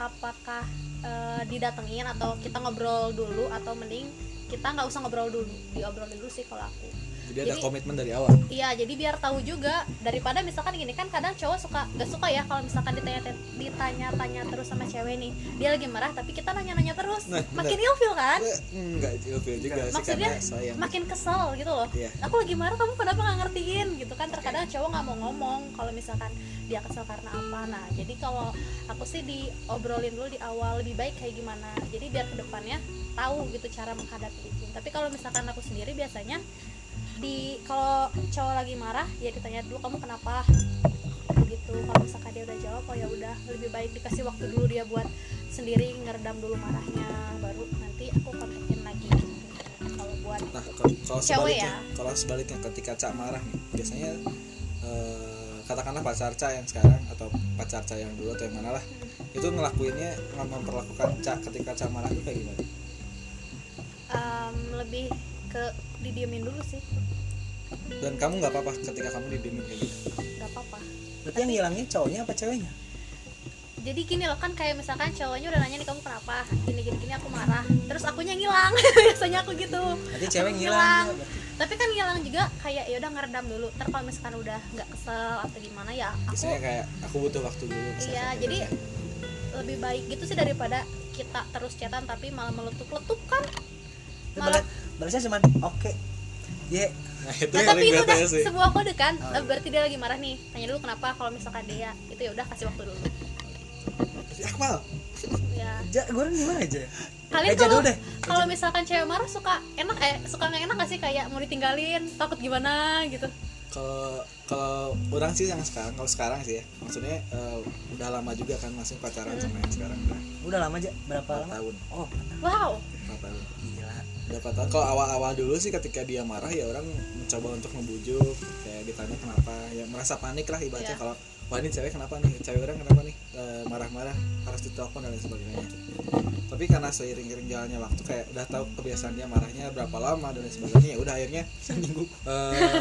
C: apakah eh, didatengin atau kita ngobrol dulu atau mending kita nggak usah ngobrol dulu diobrolin dulu sih kalau aku
A: jadi ada
C: Jadi-
A: komitmen dari awal
C: Iya, jadi biar tahu juga daripada misalkan gini kan kadang cowok suka gak suka ya kalau misalkan ditanya ditanya-tanya terus sama cewek nih. Dia lagi marah tapi kita nanya-nanya terus.
A: Nah,
C: makin ilfil kan?
A: Eh, enggak juga juga sih
C: Maksudnya,
A: karena sayang
C: Makin kesel gitu loh.
A: Iya.
C: Aku lagi marah kamu kenapa gak ngertiin gitu kan terkadang cowok nggak mau ngomong kalau misalkan dia kesel karena apa. Nah, jadi kalau aku sih diobrolin dulu di awal lebih baik kayak gimana. Jadi biar kedepannya tahu gitu cara menghadapi itu. Tapi kalau misalkan aku sendiri biasanya di kalau cowok lagi marah ya ditanya dulu kamu kenapa gitu kalau misalkan dia udah jawab oh ya udah lebih baik dikasih waktu dulu dia buat sendiri ngeredam dulu marahnya baru nanti aku kontakin lagi gitu kalau buat
A: Nah, kalau kalau
C: Cewek
A: sebaliknya,
C: ya.
A: kalau sebaliknya ketika Cak marah nih, biasanya eh, katakanlah pacar Cak yang sekarang atau pacar Cak yang dulu atau yang mana lah, itu ngelakuinnya mem- memperlakukan Cak ketika Cak marah itu kayak gimana?
C: em, lebih ke didiemin dulu sih
A: Dan kamu nggak apa-apa ketika kamu didiemin kayak gitu.
C: nggak apa-apa
B: berarti yang ngilangnya cowoknya apa ceweknya
C: jadi gini loh kan kayak misalkan cowoknya udah nanya nih kamu kenapa gini gini gini aku marah terus akunya ngilang biasanya aku gitu
B: berarti cewek
C: Ngilang.
B: ngilang
C: tapi kan ngilang juga kayak ya udah ngeredam dulu ter kalau misalkan udah nggak kesel atau gimana ya aku
A: Biasanya kayak aku butuh waktu dulu. misalkan
C: Iya,
A: kayak
C: jadi
A: gitu.
C: lebih baik gitu sih daripada kita terus cetan tapi malah meletup-letup kan
B: Terus
C: malah
B: balas- balasnya cuma oke Ya, ye
A: nah itu
C: Nah,
A: paling
C: tapi itu
A: bete
C: udah
A: sih.
C: sebuah kode kan
B: Oh,
C: Eh,
B: iya.
C: berarti dia lagi marah nih tanya dulu kenapa kalau misalkan dia itu ya udah kasih waktu dulu
A: Akmal,
C: ya
B: ja goreng gimana aja
C: kalian
B: Eh,
C: kalau
B: jadul deh.
C: kalau misalkan cewek marah suka enak eh suka nggak enak gak sih kayak mau ditinggalin takut gimana gitu
A: kalau kalau orang sih yang sekarang, kalau sekarang sih ya, maksudnya eh, udah lama juga kan masih pacaran sama yang sekarang udah
B: udah lama aja berapa
A: empat
B: lama
A: tahun,
B: oh
C: wow
A: empat tahun.
B: gila
A: dapat tahu kalau awal-awal dulu sih ketika dia marah ya orang mencoba untuk membujuk kayak ditanya kenapa ya merasa panik lah ibaratnya
C: Iya.
A: kalau wah ini cewek kenapa nih cewek orang kenapa nih E, marah-marah harus ditelepon dan lain sebagainya tapi karena seiring-iring jalannya waktu kayak udah tahu kebiasaan dia marahnya berapa lama dan lain sebagainya ya udah akhirnya
B: minggu
A: e,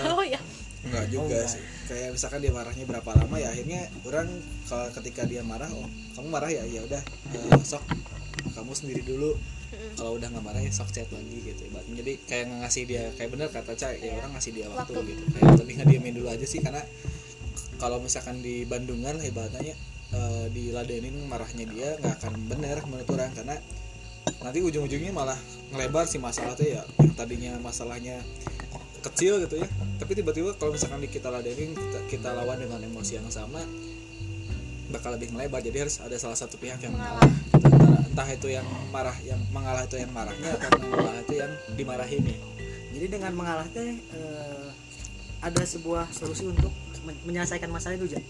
C: oh ya
A: enggak juga
B: enggak.
A: sih kayak misalkan dia marahnya berapa lama ya akhirnya orang kalau ketika dia marah oh kamu marah ya ya udah e, sok kamu sendiri dulu
C: Mm.
A: kalau udah nggak marah ya sok chat lagi gitu ibaratnya jadi kayak nggak ngasih dia kayak bener kata cah ya
C: Iya.
A: orang ngasih dia waktu,
C: Waktu.
A: gitu kayak lebih ngediemin dulu aja sih karena kalau misalkan di Bandungan lah ibaratnya eh, diladenin marahnya dia nggak akan bener menurut orang karena nanti ujung-ujungnya malah ngelebar sih masalah tuh ya yang tadinya masalahnya kecil gitu ya tapi tiba-tiba kalau misalkan di- kita ladenin kita, kita lawan dengan emosi yang sama bakal lebih melebar jadi harus ada salah satu pihak yang
C: Mengalah.
A: mengalah Gitu, antara- entah itu yang marah yang mengalah itu yang marahnya atau yang mengalah itu yang dimarahin ya
B: jadi dengan mengalah teh eh, ada sebuah solusi untuk men- menyelesaikan masalah itu aja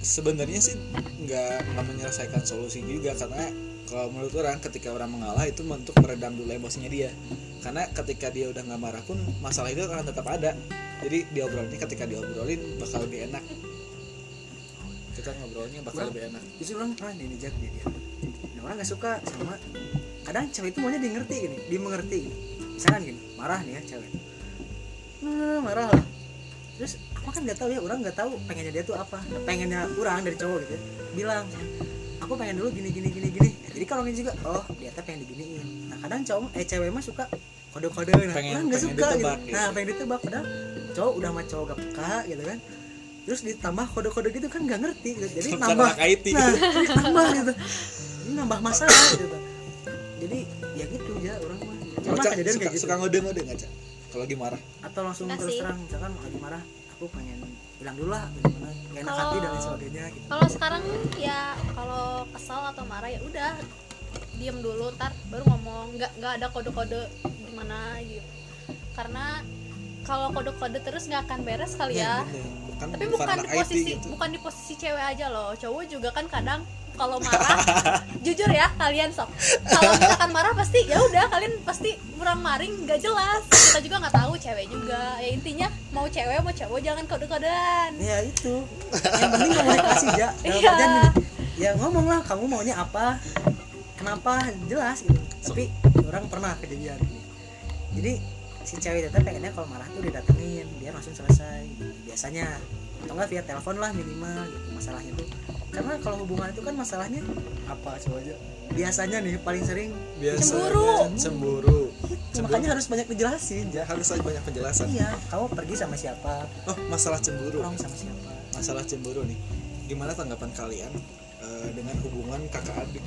A: sebenarnya sih nggak nggak menyelesaikan solusi juga karena kalau menurut orang ketika orang mengalah itu untuk meredam dulu emosinya dia karena ketika dia udah nggak marah pun masalah itu akan tetap ada jadi diobrolinnya ketika diobrolin bakal lebih enak kita ngobrolnya bakal
B: Kurang.
A: lebih enak
B: justru orang pernah nih dijak dia dia nah, orang nggak suka sama kadang cewek itu maunya di ngerti gini dimengerti gini. misalkan gini marah nih ya cewek Hmm, marah lah "Eh, terus aku mah kan nggak tahu ya orang nggak tahu pengennya dia tuh apa Nah, pengennya orang dari cowok gitu ya, bilang aku pengen dulu gini gini gini gini Nah, jadi kalau ini juga oh dia tuh pengen diginiin nah kadang cowok eh cewek mah suka kode-kode
A: Pengen-
B: nah orang
A: pengen
B: nggak suka gitu.
A: ditebak gitu.
B: nah pengen ditebak padahal cowok udah sama cowok gak peka gitu kan terus ditambah kode-kode gitu kan nggak ngerti gitu. jadi
A: Bukan
B: nambah
A: anak IT
B: nah jadi nambah gitu Ini nambah masalah gitu jadi ya gitu ya orang mah Cuma
A: Ngaca,
B: kejadian
A: suka,
B: kayak gitu
A: suka ngode-ngode ngaca kalau lagi marah
B: atau langsung terus
C: Kasih.
B: terang misalkan lagi marah aku pengen bilang dulu lah gimana gak enak hati dan lain
C: Kalau-
B: sebagainya gitu
C: kalau sekarang ya kalau kesal atau marah ya udah diem dulu ntar baru ngomong nggak nggak ada kode-kode gimana gitu karena kalau kode-kode terus nggak akan beres kali ya
A: bener. Kan bukan,
C: tapi bukan di
A: anak IT
C: posisi
A: gitu
C: bukan di posisi cewek aja loh cowok juga kan kadang kalau marah jujur ya kalian sok kalau misalkan marah pasti ya udah kalian pasti kurang maring nggak jelas kita juga nggak tahu cewek juga ya intinya mau cewek mau cowok jangan kode-kodean
B: ya itu yang penting komunikasi ja dalam
C: Iya.
B: artian gini, ya ngomong lah kamu maunya apa kenapa jelas gitu tapi orang pernah kejadian ini jadi si cewek itu pengennya kalau marah tuh didatengin biar langsung selesai gitu. biasanya atau enggak via telepon lah minimal gitu masalahnya tuh karena kalau hubungan itu kan masalahnya apa coba aja biasanya nih paling sering
A: biasa ya.
C: Cemburu.
A: cemburu
B: Tuh,
A: Cemburu.
B: makanya harus banyak dijelasin
A: ya
B: ja
A: harus ada banyak penjelasan
B: iya kamu pergi sama siapa
A: oh masalah cemburu
B: pulang sama siapa
A: masalah cemburu nih gimana tanggapan kalian eh, dengan hubungan kakak adik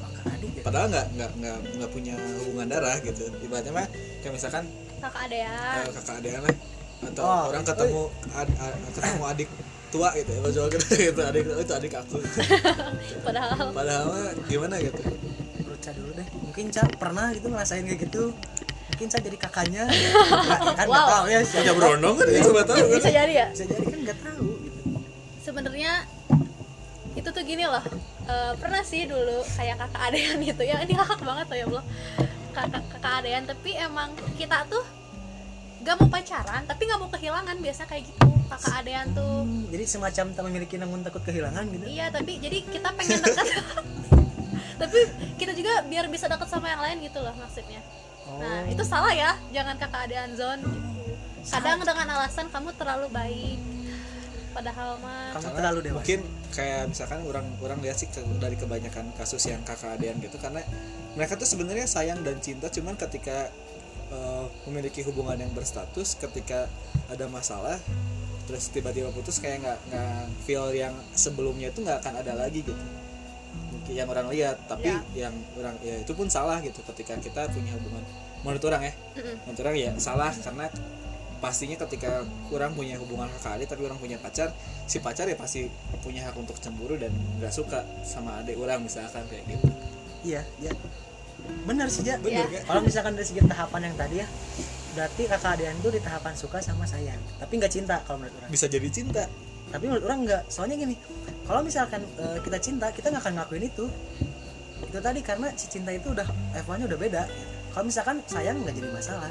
B: Kakak adik ya.
A: padahal nggak nggak nggak nggak punya hubungan darah gitu ibaratnya mah kayak misalkan
C: kakak ada ya
A: eh, kakak adik lah atau
B: Oh,
A: orang ketemu ad- ad- ketemu adik tua gitu ya jual gitu gitu adik "Oh, itu adik aku
C: padahal
A: padahal mah gimana gitu
B: menurut Ca dulu deh mungkin Ca pernah gitu ngerasain kayak gitu mungkin Ca jadi kakaknya Nggak, ya kan nggak
C: Wow.
B: tahu ya siapa
A: punya berondong kan ya coba tahu kan
C: bisa jadi ya
B: bisa jadi kan nggak tahu gitu
C: sebenarnya itu tuh gini loh eh, pernah sih dulu kayak kakak adean gitu ya ini kakak banget loh ya Allah kakak kakak adean tapi emang kita tuh gak mau pacaran tapi gak mau kehilangan biasa kayak gitu kakak adean tuh
B: Hmm, jadi semacam tak memiliki namun takut kehilangan gitu
C: iya tapi jadi kita pengen dekat tapi kita juga biar bisa dekat sama yang lain gitu loh maksudnya
B: Oh,
C: nah itu salah ya jangan kakak adean zone gitu kadang dengan alasan kamu terlalu baik padahal mah
B: kamu
A: Karena
B: terlalu dewasa
A: mungkin kayak misalkan orang orang lihat sih ke- dari kebanyakan kasus yang kakak adean gitu karena mereka tuh sebenarnya sayang dan cinta cuman ketika eh, memiliki hubungan yang berstatus ketika ada masalah terus tiba-tiba putus kayak nggak nggak feel yang sebelumnya itu nggak akan ada lagi gitu mungkin yang orang lihat tapi yang orang ya itu pun salah gitu ketika kita punya hubungan menurut orang ya
C: Mm-mm.
A: menurut orang ya salah karena pastinya ketika kurang punya hubungan kakak adik tapi orang punya pacar si pacar ya pasti punya hak untuk cemburu dan nggak suka sama adik orang misalkan kayak gitu
B: iya iya benar sih Ja
A: bener
C: Iya.
A: kan
B: kalau misalkan dari segi tahapan yang tadi ya berarti kakak adean tuh di tahapan suka sama sayang tapi nggak cinta kalau menurut orang
A: bisa jadi cinta
B: tapi menurut orang nggak soalnya gini kalau misalkan eh, kita cinta kita nggak akan ngakuin itu itu tadi karena si cinta itu udah levelnya udah beda kalau misalkan sayang nggak jadi masalah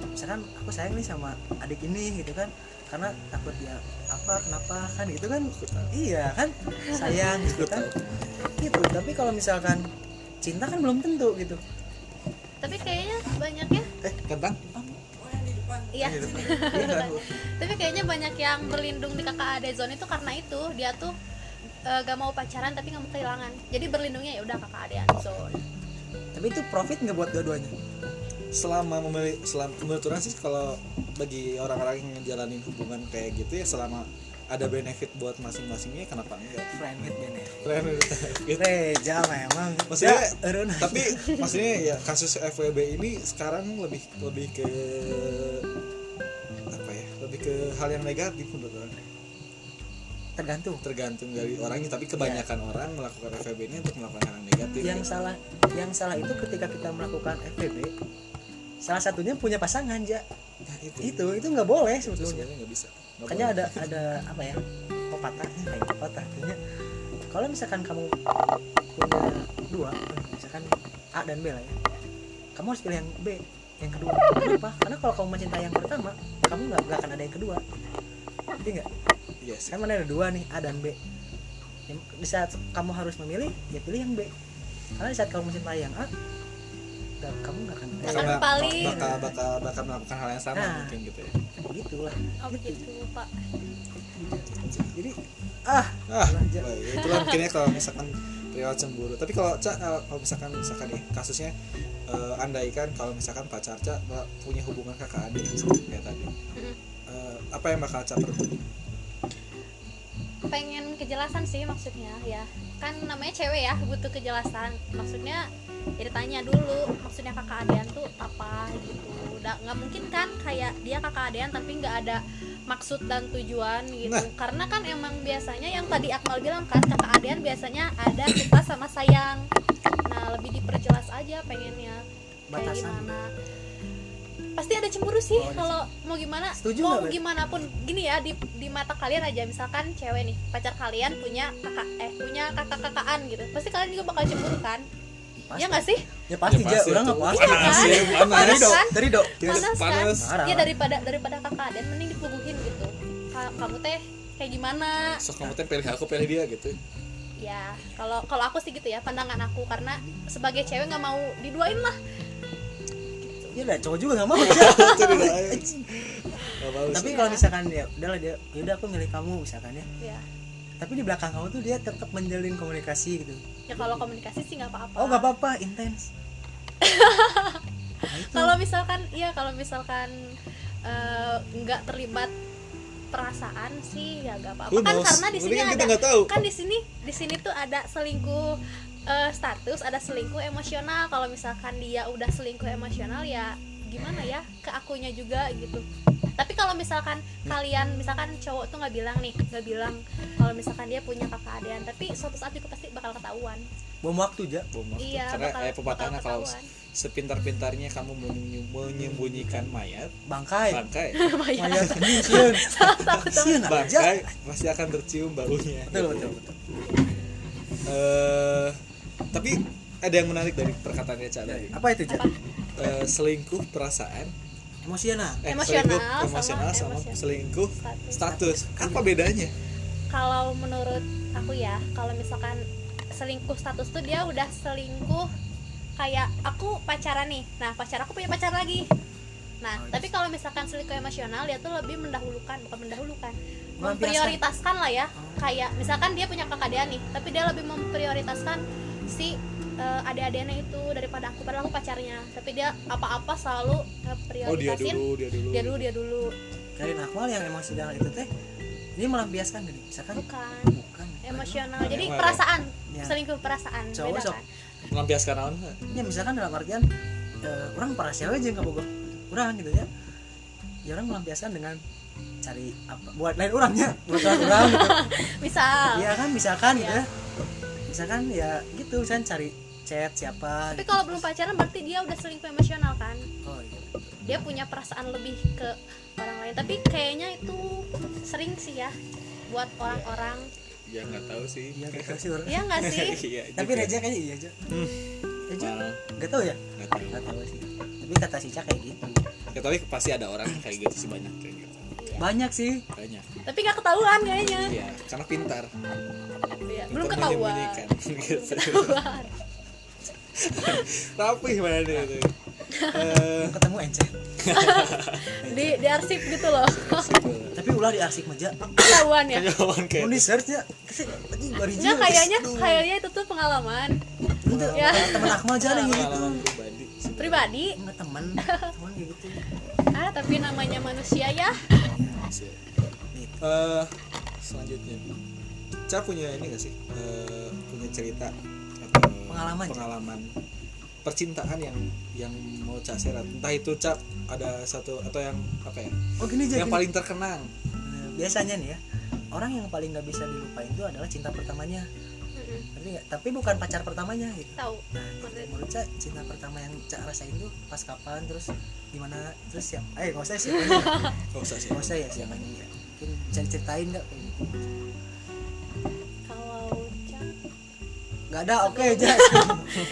B: misalkan aku sayang nih sama adik ini gitu kan karena takut dia apa kenapa kan gitu kan
A: Aku tahu.
B: iya kan sayang
A: Aku
B: gitu kan
A: tahu.
B: gitu tapi kalau misalkan cinta kan belum tentu gitu
C: tapi kayaknya banyaknya
A: eh kentang
C: iya
A: Ini depan. Iya kan?
C: tapi kayaknya banyak yang berlindung di kakak ade zone itu karena itu dia tuh eh, gak mau pacaran tapi gak mau kehilangan jadi berlindungnya ya udah kakak adean zone
B: tapi itu profit nggak buat dua-duanya
A: selama memilih selama menurut orang sih kalau bagi orang-orang yang ngejalanin hubungan kayak gitu ya selama ada benefit buat masing-masingnya kenapa enggak
B: friend with benefit
A: Gitu.
B: Reja memang Ya,
A: Maksudnya,
B: Ja, ereun.
A: tapi maksudnya ya kasus FWB ini sekarang lebih lebih ke apa ya lebih ke hal yang negatif menurut orang
B: tergantung
A: tergantung dari orangnya tapi kebanyakan orang melakukan FWB ini untuk melakukan hal yang negatif
B: Ya. yang
A: gitu.
B: salah yang salah itu ketika kita melakukan FBB salah satunya punya pasangan ja
A: Nah, itu
B: itu itu nggak boleh
A: itu
B: sebetulnya
A: sebenarnya nggak bisa Nggak
B: makanya
A: boleh.
B: ada ada apa ya pepatah kayak pepatah artinya kalau misalkan kamu punya dua misalkan A dan B lah ya kamu harus pilih yang B yang kedua kenapa karena kalau kamu mencintai yang pertama kamu nggak nggak akan ada yang kedua jadi nggak
A: yes
B: kan mana ada dua nih A dan B Ya, di saat kamu harus memilih ya pilih yang B karena di saat kamu mencintai yang A dan kamu nggak akan
A: bakal,
C: Jangan paling.
A: bakal bakal bakal melakukan hal yang sama
B: Nah.
A: mungkin gitu ya
B: gitulah
C: oh begitu pak
A: ya.
B: jadi ah
A: ah
B: Lah, ja-
A: baik. itulah mungkinnya kalau misalkan Rio cemburu tapi kalau Ca, eh, kalau misalkan misalkan ya kasusnya eh, andaikan kalau misalkan pacar Ca ba- punya hubungan kakak adik seperti kayak tadi
C: Mm.
A: Eh, apa yang bakal Ca
C: Ah,
A: perbuat
C: pengen kejelasan sih maksudnya ya kan namanya cewek ya butuh kejelasan maksudnya ya ditanya dulu maksudnya kakak adean tuh apa gitu udah nggak mungkin kan kayak dia kakak adean tapi nggak ada maksud dan tujuan gitu
A: Nah.
C: karena kan emang biasanya yang tadi Akmal bilang kan kakak adean biasanya ada kita sama sayang nah lebih diperjelas aja pengennya kayak
B: Batasan.
C: gimana pasti ada cemburu sih
B: Oh, ada
C: kalau mau gimana
B: Setuju
C: mau
B: nggak, Beb?
C: gimana pun gini ya di, di mata kalian aja misalkan cewek nih pacar kalian punya kakak eh punya kakak kakaan gitu pasti kalian juga bakal cemburu kan
B: pasti.
C: ya nggak sih
B: ya pasti,
A: Ya
B: ja
A: pasti
B: orang
A: tuh.
B: nggak pasti
A: panas
C: Iya
A: ya panas
B: dari dok
C: Kan?
B: dari dok
A: Kita
C: panas kan?
A: panas
B: Parah.
C: ya daripada daripada kakak dan mending dipuguhin gitu Ka- kamu teh kayak gimana
A: so kamu teh Ah, pilih aku pilih dia gitu
C: ya kalau kalau aku sih gitu ya pandangan aku karena sebagai cewek nggak mau diduain lah
B: ya udah cowok juga nggak mau
C: Iya.
B: Ja.
A: itu tidak Gak bagus.
B: tapi kalau misalkan ya udahlah dia yaudah aku milih kamu misalkan ya
C: ya
B: tapi di belakang kamu tuh dia tetap menjalin komunikasi gitu
C: ya kalau komunikasi sih nggak apa-apa
B: oh nggak apa-apa intens Nah, itu.
C: kalau misalkan iya kalau misalkan eh, nggak terlibat perasaan sih ya nggak apa-apa
A: Who
C: kan
A: knows?
C: karena di
A: Mungkin
C: sini
A: kita
C: ada
A: nggak tahu.
C: kan di sini di sini tuh ada selingkuh eh, status ada selingkuh emosional kalau misalkan dia udah selingkuh emosional ya gimana ya ke akunya juga gitu tapi kalau misalkan kalian misalkan cowok tuh nggak bilang nih nggak bilang kalau misalkan dia punya kakak adean tapi suatu saat juga pasti bakal ketahuan
B: bom waktu ja
A: Bom waktu.
C: iya
A: karena
C: bakal,
A: eh, pepatahnya
C: bakal
A: kalau
C: ketahuan.
A: sepintar-pintarnya kamu menyu- menyembunyikan mayat
B: bangkai
A: bangkai
C: Lumayan.
B: Mayat anjing, sieun. Sieun, ah, Ja.
A: bangkai pasti akan tercium baunya
B: betul betul betul
A: eh tapi ada yang menarik dari perkataannya Cak tadi.
B: Iya, apa itu ja
A: Eh, selingkuh perasaan,
B: emosional
A: eh,
C: Emosional
A: selingkuh
C: sama-
A: emosional sama,
C: emosional.
A: selingkuh
C: Status.
A: status. Apa bedanya?
C: kalau menurut aku ya kalau misalkan selingkuh status tuh dia udah selingkuh kayak aku pacaran nih nah pacar aku punya pacar lagi nah
A: Oh,
C: tapi
A: iya.
C: kalau misalkan selingkuh emosional dia tuh lebih mendahulukan bukan mendahulukan memprioritaskan lah ya kayak misalkan dia punya kakak dia nih tapi dia lebih memprioritaskan si eh, adik-adiknya itu daripada aku padahal aku pacarnya tapi dia apa-apa selalu eh,
A: Oh dia
C: prioritasin
A: dulu, dia dulu.
C: dia dulu dia dulu
B: dari nakmal yang emosional itu teh ini melampiaskan gini misalkan
C: bukan
B: bukan
C: emosional
A: Emang
C: jadi
A: ada?
C: perasaan
B: Ya.
C: selingkuh perasaan
B: Cowok
C: beda
B: sok.
C: kan
A: Melampiaskan naon?
B: ya misalkan dalam artian eh, orang para cewek aja nggak bogoh orang gitu ya ya orang melampiaskan dengan cari apa buat lain orangnya buat orang orang gitu
C: misal
A: Iya.
B: ya kan misalkan gitu
C: Iya.
B: ya misalkan ya gitu misalkan cari chat siapa
C: tapi
B: gitu.
C: kalau belum pacaran berarti dia udah selingkuh emosional kan
B: oh iya
C: dia punya perasaan lebih ke orang lain tapi kayaknya itu sering sih ya buat orang-orang
A: Ya nggak tahu sih.
B: iya gak tau sih orang
C: ya nggak sih
A: Iya.
B: tapi
A: juga.
B: Reja kayaknya iya aja
A: Hmm.
B: Reja
A: Malah,
B: nggak tahu ya
A: nggak tahu.
B: nggak tahu sih tapi kata si Ca kayak gitu
A: Ya, tapi pasti ada orang kayak gitu sih banyak kayak gitu.
C: Iya.
B: banyak sih
A: Banyak.
C: tapi nggak ketahuan kayaknya
A: Iya, karena pintar.
C: Iya,
A: Pintar
C: belum ketahuan
A: menyembunyikan.
C: Belum
A: Gitu.
C: ketahuan.
A: Rapih mana dia tuh. Eh,
B: ketemu encet
C: di di arsip gitu loh
A: situ.
B: tapi ulah di arsip meja
C: ketahuan ya
A: Kawan
B: mau
A: kayak
B: di search ya Kasih, anjing, gua
C: nggak
B: Reja.
C: kayaknya kayaknya itu tuh pengalaman
B: Bentar,
C: Ya.
B: temen Akmal aja nih gitu
A: pengalaman pribadi.
C: pribadi
B: enggak temen temen kayak gitu
C: ah tapi namanya manusia ya
A: Siap. eh selanjutnya Ca punya ini gak sih Eh, punya cerita atau
B: Pengalaman, Ca?
A: pengalaman percintaan yang yang mau Ca share entah itu Ca ada satu atau yang apa ya
B: oh gini aja
A: yang
B: gini.
A: paling terkenang
B: Nah, biasanya nih ya orang yang paling nggak bisa dilupain itu adalah cinta pertamanya
C: Mm-mm,
B: ngerti nggak tapi bukan pacar pertamanya gitu
C: tahu
B: nah menurut Ca, cinta pertama yang Ca rasain tuh pas kapan terus gimana terus siap eh nggak usah sih nggak
A: gak usah sih
B: usah ya siapa ini ya mungkin bisa diceritain nggak kayak gitu
C: kalau Cak
B: nggak ada oke aja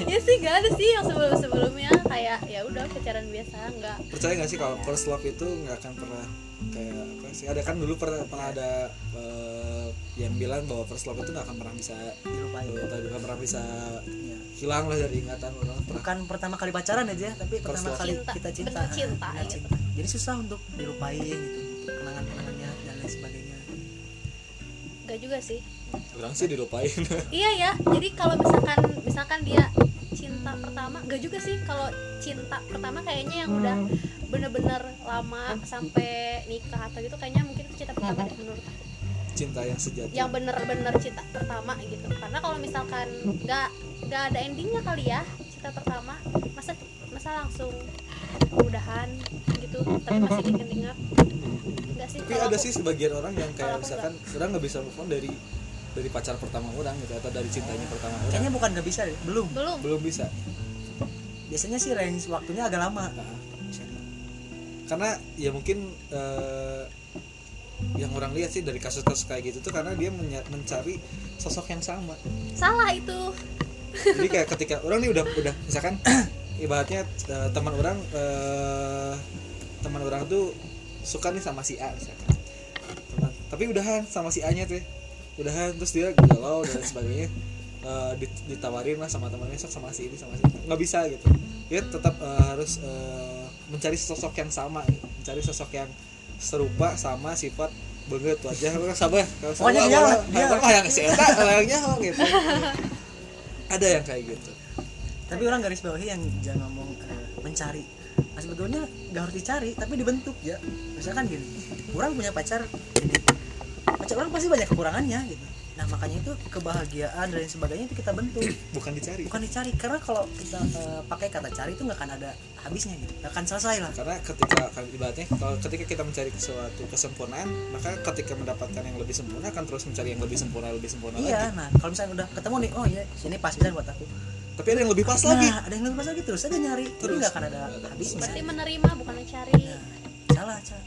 C: ya sih gak ada sih yang sebelum sebelumnya kayak ya udah pacaran biasa nggak
A: percaya gak sih kalau first love itu nggak akan pernah kayak apa sih ada kan dulu pernah, pernah ada eh, yang bilang bahwa first love itu nggak akan pernah bisa eh,
B: dilupain
A: atau nggak pernah bisa
B: ya.
A: hilang lah dari ingatan orang pernah
B: bukan pertama kali pacaran aja tapi pertama
A: love.
B: kali
C: Cinta.
B: kita cinta iya.
C: Bentuk cinta,
B: Benar
C: gitu.
B: cinta. jadi susah untuk dilupain gitu
C: Gak juga sih
A: orang sih dilupain
C: Iya ya, jadi kalau misalkan misalkan dia cinta pertama, enggak juga sih kalau cinta pertama kayaknya yang udah bener-bener lama sampai nikah atau gitu kayaknya mungkin itu cinta pertama deh menurut aku.
A: cinta yang sejati
C: Yang bener-bener cinta pertama gitu. Karena kalau misalkan nggak nggak ada endingnya kali ya cinta pertama, masa masa langsung udahan gitu tapi masih inget-inget enggak sih
A: tapi
C: kalau
A: ada
C: aku-
A: sih sebagian orang yang kayak
C: kalau aku
A: misalkan orang nggak bisa move on dari dari pacar pertama orang gitu atau dari cintanya pertama orang
B: kayaknya bukan nggak bisa deh, belum
C: belum
A: belum bisa
B: biasanya sih range waktunya agak lama
A: Nah, misalnya. karena ya mungkin eh, yang orang lihat sih dari kasus-kasus kayak gitu tuh karena dia menya- mencari sosok yang sama
C: salah itu
A: jadi kayak ketika orang nih udah udah misalkan ibaratnya eh, teman orang eh, teman orang tuh suka nih sama si A misalkan Teman- tapi udahan sama si A nya tuh ya. udahan terus dia galau dan sebagainya Eh, dit- ditawarin lah sama temannya sok sama si ini sama si itu nggak bisa gitu dia tetap eh, harus eh, mencari sosok yang sama gitu. mencari sosok yang serupa sama sifat banget wajah sabar kalau
B: Pokoknya dia lah, dia lah.
A: yang si Eta layaknya gitu ada yang kayak gitu
B: tapi orang garis bawahnya yang jangan ngomong eh, mencari Nah, sebetulnya nggak harus dicari tapi dibentuk ya misalkan gini orang punya pacar gini. pacar orang pasti banyak kekurangannya gitu nah makanya itu kebahagiaan dan lain sebagainya itu kita bentuk
A: bukan dicari
B: bukan dicari karena kalau kita eh, pakai kata cari itu nggak akan ada habisnya gitu nggak akan selesai lah
A: karena ketika kan ibaratnya kalau ketika kita mencari suatu kesempurnaan maka ketika mendapatkan yang lebih sempurna akan terus mencari yang lebih sempurna lebih sempurna
B: iya
A: lagi
B: nah kalau misalnya udah ketemu nih oh iya ini pas bisa buat aku
A: tapi ada yang lebih pas
B: nah
A: lagi
B: ada yang lebih pas lagi terus aja nyari terus
A: Terus.
B: nggak akan ada
A: Nggak ada
B: habisnya
C: berarti menerima bukan mencari
B: nah, salah cara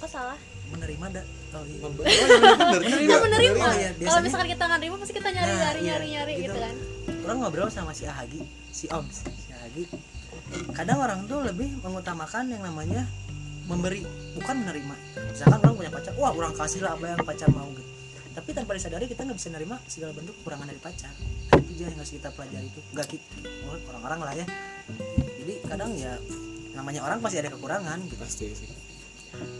C: kok salah
B: menerima dah oh iya
A: Oh, iya, bener
C: kita
A: juga.
C: menerima
B: iya,
C: kalau
B: biasanya-
C: misalkan kita nggak nerima pasti kita nyari
B: Nah,
C: nyari
B: iya,
C: nyari nyari
B: gitu.
C: gitu kan
B: orang ngobrol sama si Ahagi si Om si Ahagi kadang orang tuh lebih mengutamakan yang namanya memberi bukan menerima misalkan orang punya pacar wah orang kasih lah apa yang pacar mau gitu tapi tanpa disadari kita nggak bisa nerima segala bentuk kekurangan dari pacar Nah, itu dia yang harus kita pelajari itu nggak kita orang-orang lah ya jadi kadang ya namanya orang pasti ada kekurangan gitu
A: pasti sih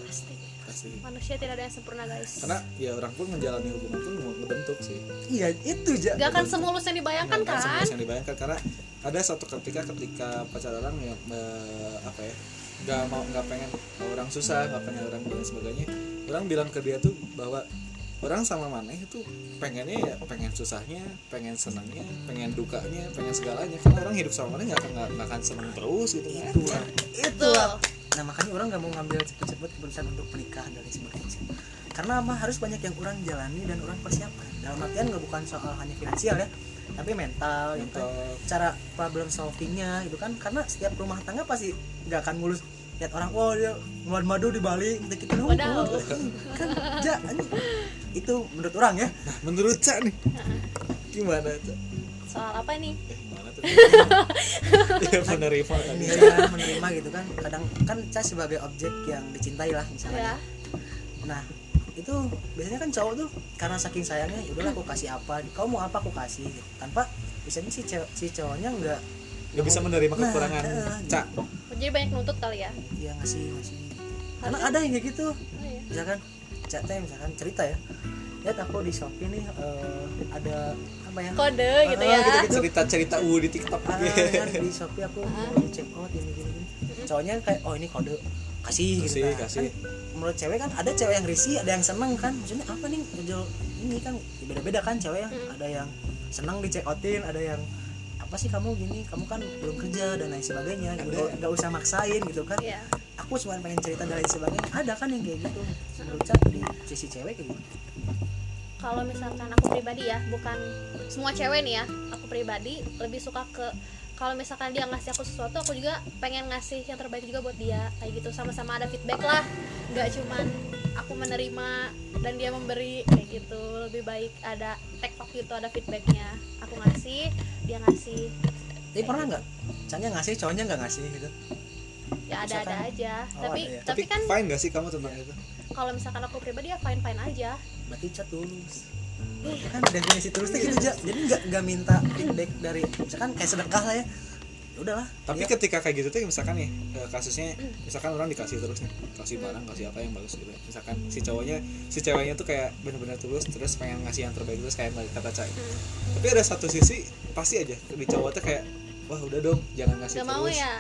C: pasti
A: pasti
C: manusia tidak ada yang sempurna guys
A: karena ya orang pun menjalani hubungan pun mau ngebentuk sih
B: iya itu ja
C: nggak akan semulus yang dibayangkan
A: Nggak
C: kan
A: semulus yang dibayangkan karena ada satu ketika ketika pacar orang yang eh, apa ya nggak mau nggak pengen orang susah nggak pengen orang dan sebagainya orang bilang ke dia tuh bahwa orang sama maneh itu pengennya ya pengen susahnya pengen senangnya pengen dukanya pengen segalanya karena orang hidup sama maneh nggak akan nggak- nggak akan seneng terus gitu kan
B: itu lah itu
C: Betul.
B: lah nah makanya orang nggak mau ngambil cepet-cepet keputusan untuk pernikahan dan lain sebagainya karena apa harus banyak yang orang jalani dan orang persiapkan dalam artian nggak bukan soal hanya finansial ya tapi mental, gitu.
A: Mental.
B: cara problem solvingnya itu kan karena setiap rumah tangga pasti nggak akan mulus lihat orang wow dia ngeluarin madu di Bali gitu gitu
C: Padahal.
B: kan ja, anjing. itu menurut orang ya
A: nah menurut cak nih gimana cak
C: soal apa nih
A: eh gimana tuh ya menerima tadi
B: Iya, menerima gitu kan kadang kan Ca sebagai objek yang dicintai lah
C: ya
B: misalnya nah itu biasanya kan cowok tuh karena saking sayangnya ya udahlah aku kasih apa kau mau apa aku kasih gitu. tanpa biasanya si cewek si cowoknya nggak
A: nggak bisa menerima
B: Nah,
A: kekurangan
B: eh,
A: cak
C: jadi banyak nuntut kali ya
B: ya ngasih ngasih karena ada yang kayak gitu
C: Oh, iya.
B: misalkan Ca teh misalkan cerita ya lihat aku di shopee nih eh, ada apa ya
C: kode gitu
B: Ah,
C: ya
B: gitu-gitu.
A: cerita cerita uh di tiktok Iya.
B: Ah,
C: iya.
B: kan, di Shopee aku mau check out ini gini gini. Cowoknya kayak oh ini kode kasih gitu.
A: Kasih,
B: Nah,
A: kasih.
B: kan menurut cewek kan ada cewek yang risih, ada yang seneng kan. Maksudnya apa nih ngejual ini kan ya beda-beda kan cewek yang ada yang seneng di check outin, ada yang apa sih kamu gini, kamu kan belum kerja dan lain sebagainya.
A: Ada.
B: Udah nggak usah maksain gitu kan.
C: Iya.
B: Aku cuma pengen cerita dan lain sebagainya. Ada kan yang kayak gitu. Menurut Cak, di sisi cewek kayak gitu.
C: kalau misalkan aku pribadi ya bukan semua cewek nih ya aku pribadi lebih suka ke kalau misalkan dia ngasih aku sesuatu aku juga pengen ngasih yang terbaik juga buat dia kayak gitu sama-sama ada feedback lah nggak cuman aku menerima dan dia memberi kayak gitu lebih baik ada take talk gitu ada feedbacknya aku ngasih dia ngasih
B: Tapi pernah nggak? Caknya ngasih, cowoknya nggak ngasih gitu.
C: ya ada-ada aja
B: Oh,
C: tapi
B: ada ya.
C: tapi kan
A: fine gak sih kamu tentang itu
C: kalau misalkan aku pribadi ya fine fine aja
B: berarti chat tulus kan definisi tulus tuh gitu aja jadi nggak nggak minta feedback dari misalkan kayak sedekah lah ya ya udahlah
A: tapi
C: Iya.
B: dia-
A: ketika kayak gitu tuh misalkan nih eh, kasusnya
C: Mm.
A: misalkan orang dikasih terus nih kasih barang kasih apa yang bagus gitu misalkan si cowoknya si ceweknya tuh kayak benar-benar tulus terus pengen ngasih yang terbaik terus kayak kata cai
C: Mm.
A: tapi ada satu sisi pasti aja di cowok tuh kayak wah udah dong jangan ngasih
C: Gak mau
A: terus
C: ya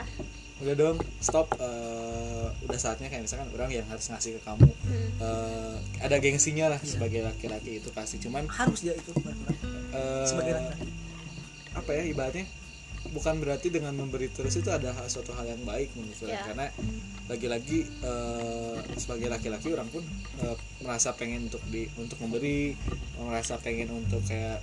A: udah dong stop eh, udah saatnya kayak misalkan orang yang harus ngasih ke kamu
C: Hmm.
A: Eh, ada gengsinya
C: Mm.
A: lah sebagai laki-laki itu pasti cuman
B: harus dia itu benar-benar.
A: eh,
B: sebagai laki-laki
A: apa ya ibaratnya bukan berarti dengan memberi terus itu ada hal- suatu hal yang baik menurut orang.
C: Ya.
A: karena lagi-lagi eh, sebagai laki-laki orang pun eh, merasa pengen untuk di untuk memberi merasa pengen untuk kayak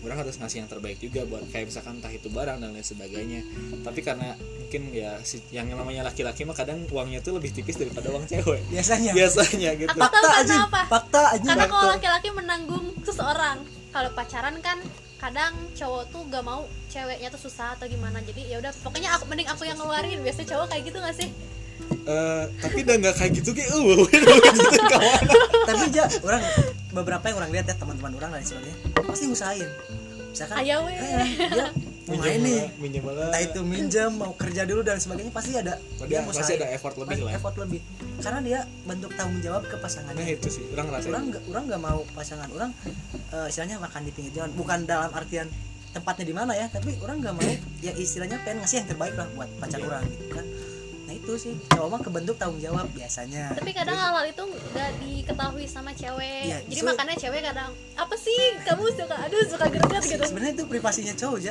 A: orang harus ngasih yang terbaik juga buat kayak misalkan entah itu barang dan lain sebagainya tapi karena mungkin ya si, yang namanya laki-laki mah kadang uangnya tuh lebih tipis daripada uang cewek
B: biasanya
A: biasanya gitu
C: Apa tahu karena
B: aja
C: apa?
B: fakta aja
C: Karena kalau
A: Betul.
C: laki-laki menanggung seseorang, kalau pacaran kan kadang cowok tuh gak mau ceweknya tuh susah atau gimana. Jadi ya udah pokoknya aku mending aku yang ngeluarin. Biasanya cowok kayak gitu gak sih?
A: Eh, tapi udah nggak kayak gitu kayak uh gitu kawan
B: tapi aja orang beberapa yang orang lihat ya teman-teman orang lain sebagainya pasti ngusahain misalkan
C: Aya we.
B: eh, dia mau main
A: Minjem
B: nih
A: lah, minjem lah.
B: entah itu minjem mau kerja dulu dan sebagainya pasti ada
A: Dia pasti
B: ngusahain.
A: ada effort lebih
B: Pasti
A: lah. ya.
B: effort lebih karena dia bentuk tanggung jawab ke
A: Nah
B: pasangannya
A: itu sih, orang ngerasain.
B: orang nggak orang nggak mau pasangan orang eh, istilahnya makan di pinggir jalan bukan dalam artian tempatnya di mana ya tapi orang nggak mau ya istilahnya pengen ngasih yang terbaik lah buat pacar
A: Iya.
B: orang gitu kan nah itu sih cowok mah kebentuk tanggung jawab biasanya
C: Tapi kadang hal-hal itu gak diketahui sama cewek.
B: Iya,
C: Jadi
B: justru-
C: makanya cewek kadang apa sih kamu suka aduh suka greget gitu.
B: sebenarnya itu privasinya cowok aja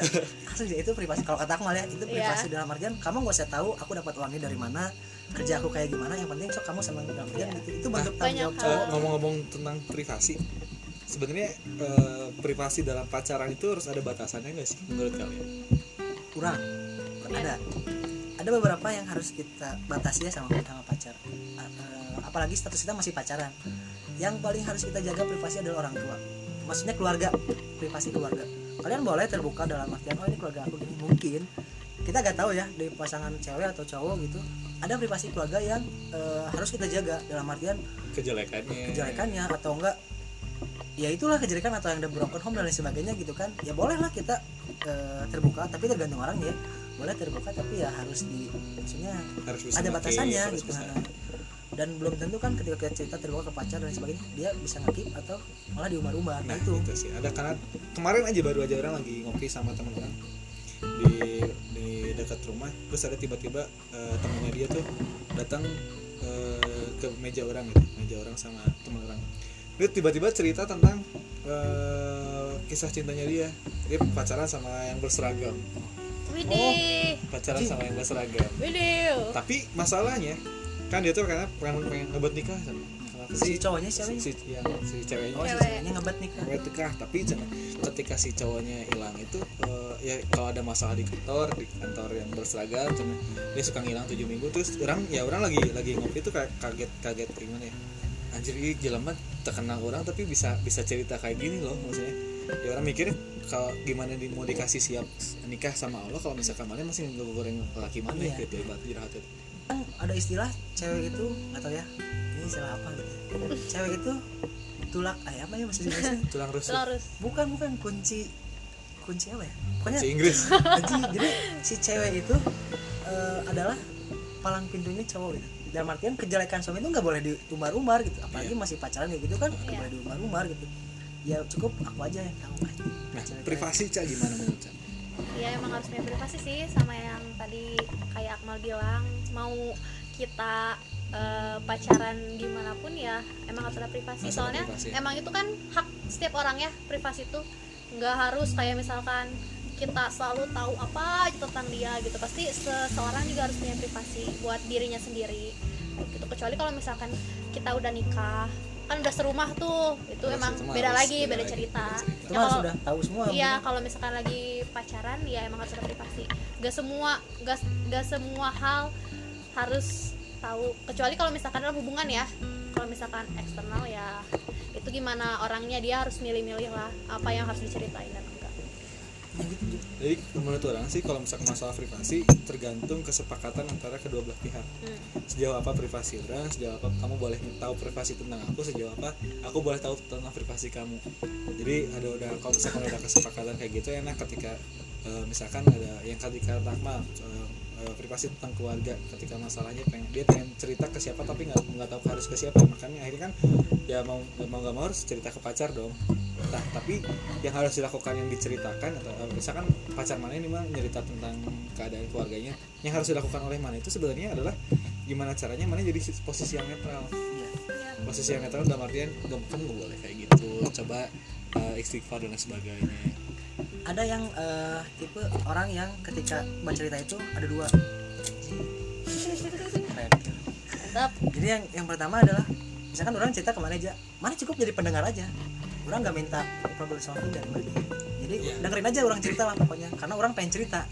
B: asli ya itu privasi kalau kata aku malah ya, itu privasi
C: Iya.
B: dalam artian kamu nggak usah tahu aku dapat uangnya dari mana kerja aku kayak gimana yang penting sok kamu sama dalam artian
C: Iya.
B: gitu itu bentuk
C: Nah,
B: tanggung
C: banyak
B: jawab
A: Eh,
B: cowok
C: hal.
A: ngomong-ngomong tentang privasi, sebenarnya eh, privasi dalam pacaran itu harus ada batasannya nggak sih menurut kalian?
B: kurang kurang ada
C: Iya.
B: ada beberapa yang harus kita batasi ya sama sama pacar A- eh, apalagi status kita masih pacaran yang paling harus kita jaga privasi adalah orang tua maksudnya keluarga privasi keluarga kalian boleh terbuka dalam artian oh ini keluarga aku gini mungkin kita gak tahu ya dari pasangan cewek atau cowok gitu ada privasi keluarga yang eh, harus kita jaga dalam artian
A: Kejelekannya.
B: kejelekannya atau enggak ya itulah kejelekan atau yang ada broken home dan lain sebagainya gitu kan ya bolehlah kita eh, terbuka tapi tergantung orang ya boleh terbuka tapi ya harus di maksudnya
A: harus bisa
B: ada
A: pakai,
B: batasannya
A: harus
B: gitu
A: bisa.
B: nah. dan belum tentu kan ketika kita cerita terbuka ke pacar dan sebagainya dia bisa ngakip atau malah diumbar-umbar
A: Nah
B: nah, itu
A: itu sih. Ada karena kemarin aja baru aja orang lagi ngopi sama teman orang di di dekat rumah. Terus ada tiba-tiba eh, temannya dia tuh datang eh, ke meja orang gitu, meja orang sama teman orang. Dia tiba-tiba cerita tentang eh, kisah cintanya dia. Dia pacaran sama yang berseragam,
C: Widih,
B: Oh.
A: pacaran sama yang berseragam.
C: widih.
A: Tapi masalahnya kan dia tuh karena pengen pengen ngebet nikah sama sama
B: si cowoknya siapa
A: si, si, yang, si ceweknya
B: oh si
C: Cewek.
B: ceweknya ngebet nih kan
A: cewek tekah tapi jangan- ketika si cowoknya hilang itu eh, ya kalau ada masalah di kantor di kantor yang berseragam cuman dia suka ngilang tujuh minggu terus orang ya orang lagi lagi ngopi itu kayak kaget kaget gimana ya anjir ini jelema terkenal orang tapi bisa bisa cerita kayak gini loh maksudnya ya orang mikir kalau gimana di, mau dikasih siap nikah sama Allah kalau misalkan mana masih nunggu goreng laki mana
B: Iya.
A: gitu ibarat jirahat itu
B: Kan ada istilah cewek itu nggak tahu ya ini istilah apa gitu cewek itu tulak ayam apa ya maksudnya
A: tulang rusuk
C: Terus
B: bukan bukan kunci kunci apa ya pokoknya
A: si Inggris
B: jadi, jadi si cewek itu eh, adalah palang pintunya cowok gitu dalam artian kejelekan suami itu nggak boleh diumbar-umbar gitu apalagi masih pacaran kayak gitu kan nggak
C: Iya.
B: boleh diumbar-umbar gitu ya cukup aku aja yang tahu kan
A: nah privasi cak gimana menurut cak
C: ya emang harus punya privasi sih sama yang tadi kayak Akmal bilang mau kita eh, pacaran gimana pun ya emang harus ada
A: Harus ada
C: privasi soalnya
A: privasi.
C: emang itu kan hak setiap orang ya privasi itu nggak harus kayak misalkan kita selalu tahu apa aja tentang dia gitu pasti seseorang juga harus punya privasi buat dirinya sendiri gitu kecuali kalau misalkan kita udah nikah kan udah serumah tuh itu
A: Harus-
C: emang
A: itu mah
C: beda
A: harus
C: lagi beda cerita
B: itu
C: Ya,
B: mah
C: kalau-
B: sudah tahu semua
C: Iya, kalau misalkan lagi pacaran ya emang harus ada privasi. Gak semua gak, gak semua hal harus tahu kecuali kalau misalkan dalam hubungan ya. Kalau misalkan eksternal ya itu gimana orangnya dia harus milih-milih lah apa yang harus diceritain dan enggak.
B: Ya gitu Ju.
A: Jadi menurut orang sih kalau misalkan masalah privasi tergantung kesepakatan antara kedua belah pihak.
C: Hmm.
A: Sejauh apa privasi orang, sejauh apa kamu boleh tahu privasi tentang aku, sejauh apa aku boleh tahu tentang privasi kamu. Jadi ada udah kalau misalkan ada kesepakatan kayak gitu enak ketika eh, misalkan ada yang tadi kata Akmal eh, eh, privasi tentang keluarga ketika masalahnya pengen dia pengen cerita ke siapa tapi nggak nggak tahu harus ke siapa makanya akhirnya kan ya mau mau nggak mau harus cerita ke pacar dong nah tapi yang harus dilakukan yang diceritakan atau eh, misalkan pacar mana ini mah cerita tentang keadaan keluarganya yang harus dilakukan oleh mana itu sebenarnya adalah gimana caranya mana jadi posisi yang netral
C: Iya.
A: posisi yang netral dalam artian "Gak- kamu gak boleh kayak gitu coba eh, istighfar dan lain sebagainya
B: ada yang eh, tipe orang yang ketika bercerita itu ada dua
C: Mantap.
B: jadi yang yang pertama adalah misalkan orang cerita kemana aja mana cukup jadi pendengar aja orang nggak minta problem solving dari mana jadi dengerin aja orang cerita lah pokoknya karena orang pengen cerita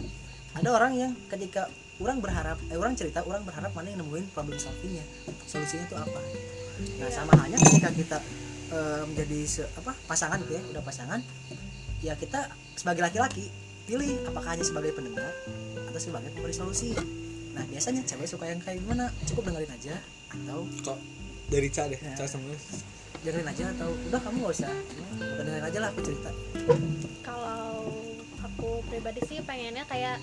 B: ada orang yang ketika orang berharap eh orang cerita orang berharap mana yang nemuin problem solvingnya solusinya tuh apa nah sama halnya ketika kita eh, menjadi se- apa pasangan gitu ya udah pasangan ya kita sebagai laki-laki pilih apakah hanya sebagai pendengar atau sebagai pemberi solusi nah biasanya cewek suka yang kayak gimana cukup dengerin aja atau
A: kok dari Ca deh
B: Ya.
A: Ca sama lu.
B: dengerin aja atau udah kamu gak usah udah dengerin aja lah aku cerita
C: kalau aku pribadi sih pengennya kayak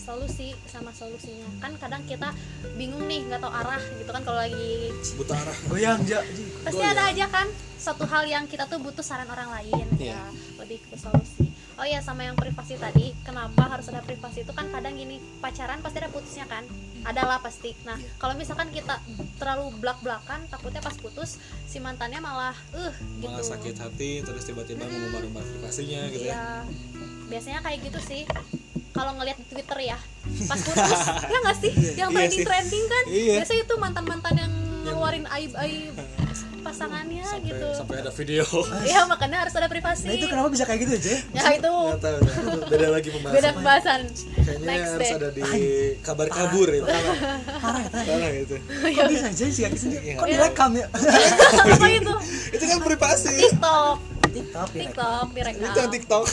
C: solusi sama solusinya kan kadang kita bingung nih nggak tahu arah gitu kan kalau lagi
A: buta arah
B: goyang aja
C: pasti
A: Oh,
C: ada aja kan satu hal yang kita tuh butuh saran orang lain
A: Iya.
C: ya lebih ke solusi oh ya sama yang privasi tadi kenapa harus ada privasi itu kan kadang gini pacaran pasti ada putusnya kan adalah pasti nah
B: Iya.
C: kalau misalkan kita terlalu belak belakan takutnya pas putus si mantannya malah eh gitu
A: malah sakit hati terus tiba-tiba mengumbar-umbar privasinya gitu ya
C: Iya. Biasanya kayak gitu sih. Kalau ngelihat di Twitter ya, pas putus, ya nggak sih?
A: Iya
C: Yang
A: sih.
C: trending trending kan?
A: Iya.
C: Biasanya itu mantan-mantan yang ngeluarin aib aib pasangannya
A: sampai,
C: gitu.
A: sampai ada video
C: Ya makanya harus ada privasi.
B: nah itu kenapa bisa kayak gitu aja
C: Ya itu
A: nggak tahu dah, itu beda lagi
C: beda
A: pembahasan
C: pembahasan.
A: kayaknya
C: Next
A: harus
C: deh. Ah.
A: ada di kabar kabur ya
B: parah ya tadi
A: salah gitu. itu
B: kok bisa aja sih kayak sendiri
A: Iya.
B: kok direkam ya
C: Apa itu?
A: itu kan privasi
C: TikTok,
B: tiktok ya, direkam
C: TikTok direkam.
A: itu yang TikTok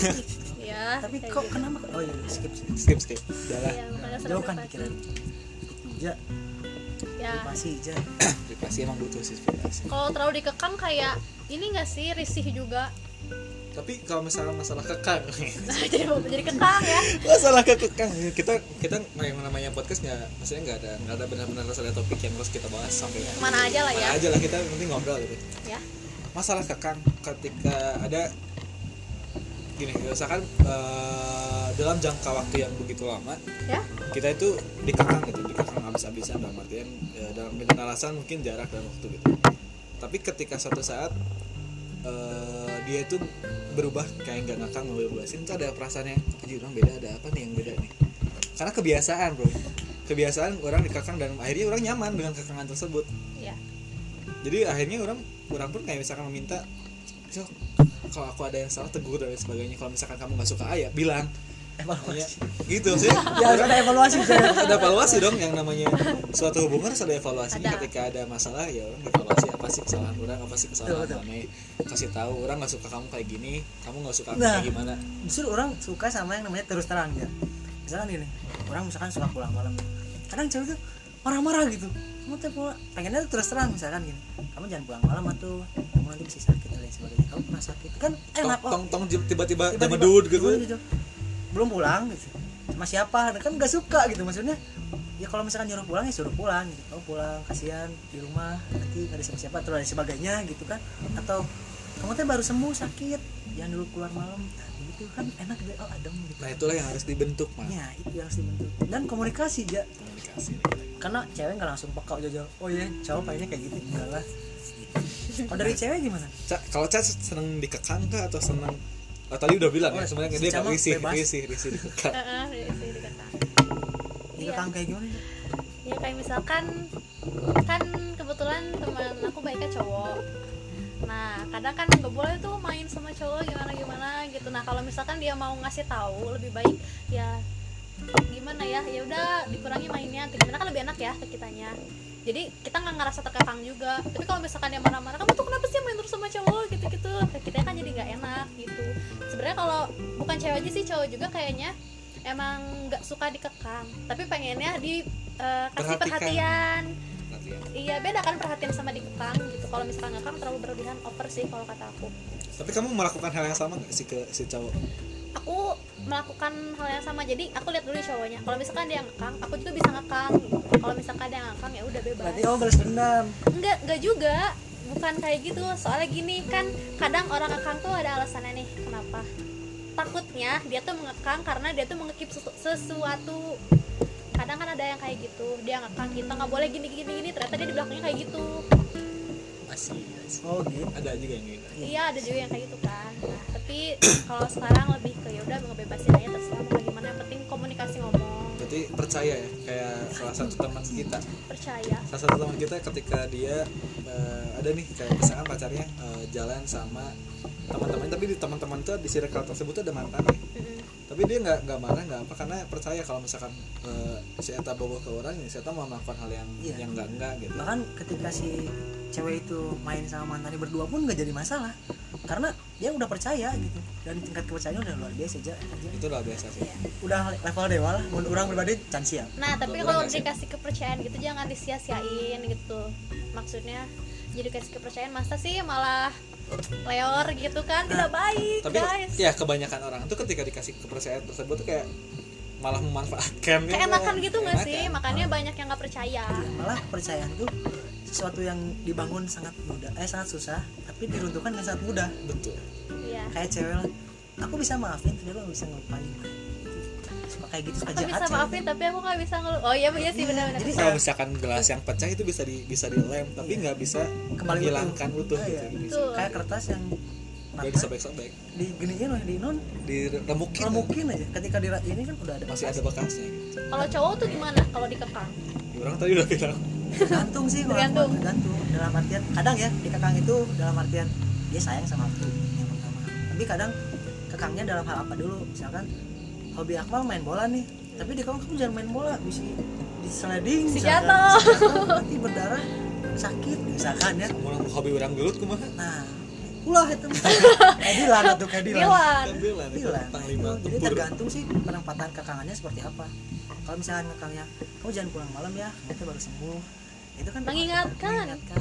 C: Ya.
B: tapi
C: kayak
B: kok
C: gitu.
B: kenapa oh iya skip skip
A: skip skip udah lah
C: Ya, makanya harus ada
B: jauhkan
C: privasi.
B: pikiran aja
C: Ya.
B: pasti aja
A: privasi emang butuh sih privasi
C: Kalau terlalu dikekang kayak ini nggak sih risih juga. Nah,
A: tapi kalau misalnya masalah kekang
C: jadi jadi kekang ya.
A: masalah kekekang kita kita yang namanya podcast nggak maksudnya nggak ada nggak ada benar-benar harus ada topik yang harus kita bahas sampai
C: Mana aja lah ya.
A: mana aja lah kita yang penting ngobrol gitu
C: Ya.
A: masalah kekang ketika ada gini misalkan eh, dalam jangka waktu yang begitu lama
C: Ya.
A: kita itu dikekang gitu dikekang habis-habisan dalam artian ya, dalam dengan alasan mungkin jarak dan waktu gitu tapi ketika suatu saat eh, dia itu berubah kayak nggak ngakang nggak bebasin itu ada perasaan yang "Anjir, orang beda ada apa nih yang beda nih karena kebiasaan bro kebiasaan orang dikekang dan akhirnya orang nyaman dengan kekangan tersebut
C: Ya.
A: jadi akhirnya orang orang pun kayak misalkan meminta "Cok, kalau aku ada yang salah tegur dan lain sebagainya kalau misalkan kamu nggak suka ayah bilang
B: evaluasi
A: Ya, gitu sih
B: ya harus ada evaluasi saya
A: ada evaluasi dong yang namanya suatu hubungan harus ada evaluasinya
C: Ada.
A: ketika ada masalah ya orang evaluasi apa sih kesalahan orang apa sih kesalahan
B: Betul, betul.
A: mana kasih tahu orang nggak suka kamu kayak gini kamu nggak suka aku
B: Nah.
A: kayak gimana
B: justru orang suka sama yang namanya terus terang ya misalkan gini orang misalkan suka pulang malam kadang cewek tuh marah-marah gitu kamu tuh pulang pengennya tuh terus terang misalkan gini kamu jangan pulang malam atau kamu nanti bisa sakit dan lain sebagainya kamu pernah sakit kan enak
A: tong tong,
B: kok
A: tong jem- tiba-tiba
B: Tiba-tiba,
A: demedut gitu
B: tiba-tiba belum pulang gitu sama siapa kan nggak suka gitu maksudnya ya kalau misalkan nyuruh pulang ya suruh pulang gitu kamu pulang kasihan di rumah nanti nggak ada siapa-siapa terus dan sebagainya gitu kan atau kamu teh baru sembuh sakit jangan dulu keluar malam nah, gitu kan enak deh oh adem gitu
A: nah itulah yang harus dibentuk mah
B: ya itu yang harus dibentuk dan komunikasi ya
A: komunikasi
B: karena cewek nggak langsung peka aja oh iya cowok pengennya kayak gitu enggak lah kalau dari cewek gimana
A: Ca, kalau Ca seneng dikekang kah atau seneng oh, tadi udah bilang
B: Oh,
A: ya sebenarnya
B: si
A: dia
B: Ca
A: nggak
B: mah
A: risih
B: bebas.
A: risih risih dikekang
C: Heeh, risih dikekang.
B: Jadi
C: Iya.
B: kamu kayak gimana Cak?
C: ya kayak misalkan kan kebetulan teman aku baiknya cowok nah kadang kan nggak boleh tuh main sama cowok gimana gimana gitu nah kalau misalkan dia mau ngasih tahu lebih baik ya gimana ya ya udah dikurangi mainnya atau gimana kan lebih enak ya ke kitanya jadi kita nggak ngerasa terkekang juga tapi kalau misalkan dia marah-marah kamu tuh kenapa sih main terus sama cowok gitu-gitu Ke kita kan jadi nggak enak gitu sebenarnya kalau bukan cewek aja sih cowok juga kayaknya emang nggak suka dikekang tapi pengennya di eh, kasih
A: Perhatikan.
C: perhatian
A: nanti ya
C: iya beda kan perhatian sama dikekang gitu kalau misalkan ngekang terlalu berlebihan over sih kalau kata aku
A: tapi kamu melakukan hal yang sama nggak sih ke si cowok
C: aku melakukan hal yang sama jadi aku lihat dulu cowoknya kalau misalkan dia ngekang aku juga bisa ngekang gitu. kalau misalkan dia ngekang ya udah bebas
B: berarti oh balas dendam
C: enggak enggak juga bukan kayak gitu soalnya gini kan kadang orang ngekang tuh ada alasannya nih kenapa takutnya dia tuh mengekang karena dia tuh mengekip sesu- sesuatu kadang kan ada yang kayak gitu dia ngekang kita nggak boleh gini gini gini ternyata dia di belakangnya kayak gitu
A: masih masih.
B: oh gitu
A: ada juga yang gitu
C: iya ada juga yang kayak gitu kan nah, tapi kalau sekarang lebih ke ya udah ngebebasin aja terserah mau gimana yang penting komunikasi ngomong
A: berarti percaya ya kayak salah satu teman kita
C: percaya
A: salah satu teman kita ketika dia eh, ada nih kayak misalkan pacarnya eh, jalan sama teman-teman tapi di teman-teman tuh di circle tersebut tuh ada mantannya
C: Mm-mm.
A: tapi dia nggak nggak marah nggak apa karena percaya kalau misalkan eh, si Eta bogoh ke orang ya si Eta mau melakukan hal yang
B: Iya.
A: yang nggak nggak gitu
B: bahkan ketika si cewek itu main sama mantannya berdua pun nggak jadi masalah karena dia udah percaya gitu dan tingkat kepercayaan udah luar biasa aja
A: itu udah biasa sih
C: Iya.
B: udah level dewa lah menurut orang pribadi can siap
C: nah
A: Boleh
C: tapi kalau
A: nggak sih?
C: dikasih kepercayaan gitu jangan disia-siain gitu maksudnya jadi kasih kepercayaan masa sih malah leor gitu kan tidak baik
A: Nah, tapi
C: guys
A: ya kebanyakan orang tuh ketika dikasih kepercayaan tersebut tuh kayak malah memanfaatkan gitu.
C: keenakan gitu nggak sih
A: Keenakan.
C: makanya banyak yang nggak percaya
B: malah kepercayaan tuh sesuatu yang dibangun sangat mudah eh sangat susah tapi diruntuhkan dengan sangat mudah
A: betul
C: iya
B: kayak cewek lah aku bisa maafin tapi aku nggak bisa ngelupain suka kayak gitu suka
C: aku
B: jahat
C: bisa
B: cewek.
C: maafin tapi aku nggak bisa ngelu oh iya iya sih
B: Iya,
C: benar-benar
B: jadi
A: kalau misalkan gelas yang pecah itu bisa di bisa dilem tapi
B: Iya.
A: nggak bisa
B: Kembali utuh.
A: menghilangkan utuh,
B: Ah,
A: gitu
B: iya.
A: nggak bisa
C: Betul.
B: kayak kertas yang
A: nggak
B: matang
A: disobek sobek
B: diginiin oleh di non
A: diremukin
B: mungkin aja ketika di ini kan udah ada
A: masih ada bekasnya gitu.
C: kalau cowok tuh gimana kalau dikekang
A: orang tadi udah bilang
B: gantung sih kalau aku
C: Tergantung.
B: tergantung dalam artian kadang ya di kekang itu dalam artian dia sayang sama aku yang pertama tapi kadang kekangnya dalam hal apa dulu misalkan hobi Akmal main bola nih tapi di kamu kamu jangan main bola bisa di sliding
C: Bisa
B: misalkan.
C: jatuh.
B: Bisa jatuh, nanti berdarah sakit misalkan ya
A: orang hobi orang gelut kumaha
B: nah ulah itu kadilan atau kadilan
C: Dilan
A: Tampilan itu
B: bilang
A: panglima
B: Kan, Iya, nah, jadi
A: tempur
B: tergantung sih penempatan kekangannya seperti apa kalau misalnya kekangnya kamu jangan pulang malam ya nanti baru sembuh itu kan
C: Mengingatkan.
B: mengingatkan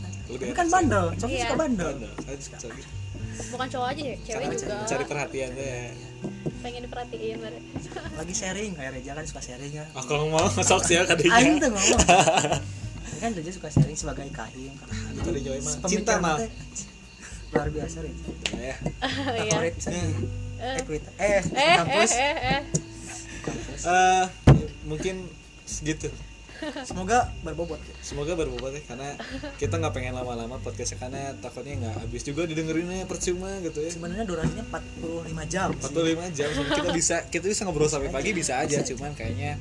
A: lebih
B: itu
A: enak
B: kan
A: sih.
B: bandel cowok
C: Iya.
B: suka bandel
A: Bandel. saya suka cewek.
C: bukan cowok aja ya cewek
A: Karena
C: juga
A: cari perhatian ya
C: pengen diperhatiin bener.
B: lagi sharing kayak Reja kan suka sharing ya
A: oh, kalau mau sok sih
B: Aing
A: tadinya
B: tuh ngomong kan Reja suka sharing sebagai kahim kan.
A: Aduh, tadi Joy mah
B: Pemikiran
A: cinta mah
B: teh luar biasa Reja
A: ya
C: Iya.
B: favorit bisa di
A: Hmm.
C: Eh.
B: equita eh
C: eh eh
B: kampus
C: eh eh
A: Eh, mungkin segitu
B: semoga berbobot
A: Semoga berbobot ya karena kita nggak pengen lama-lama podcastnya karena takutnya nggak habis juga didengerinnya percuma gitu ya.
B: sebenarnya durasinya 45 jam sih.
A: 45 jam sebenarnya kita bisa kita bisa ngobrol sampai pagi bisa aja
B: Bisa aja.
A: cuman kayaknya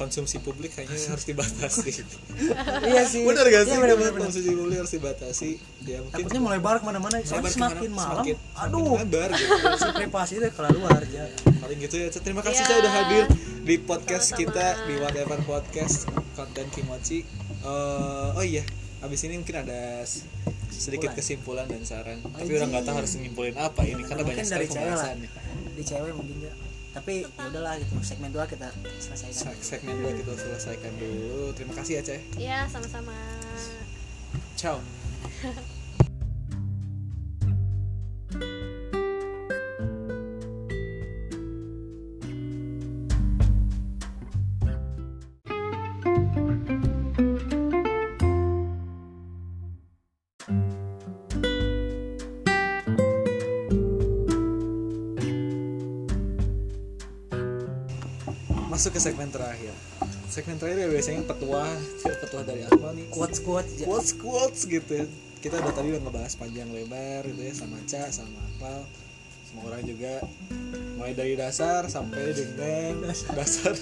A: konsumsi publik kayaknya harus dibatasi.
B: iya sih
A: Bener gak sih?
B: Iya, bener, bener, bener.
A: Konsumsi publik harus dibatasi. Ya mungkin
B: takutnya mulai bar kemana-mana soalnya
A: lebar
B: semakin
A: kemana-
B: malam
A: semakin-
B: aduh
A: semakin lebar gitu.
B: si privasi itu keluar ya
A: paling gitu ya Cet. terima kasih
B: Iya.
C: Ya.
A: saya udah hadir di podcast
C: Sama-sama.
A: kita di whatever podcast konten kimochi Eh, oh iya abis ini mungkin ada s- sedikit kesimpulan dan saran tapi
B: Anjing.
A: orang nggak tahu harus nyimpulin apa ini karena
B: Mungkin
A: banyak sekali
B: dari cewek lah.
A: pembahasannya
B: di cewek mungkin ya tapi ya udahlah gitu segmen dua kita selesaikan
A: Se- segmen dua kita selesaikan dulu terima kasih ya ceh
C: ya sama-sama
A: ciao masuk ke segmen terakhir segmen terakhir ya biasanya petua petua dari Akmal nih
B: kuat kuat ya.
A: quotes quotes gitu kita udah tadi udah ngebahas panjang lebar gitu ya sama Ca sama Akmal semua orang juga mulai dari dasar sampai dengan dasar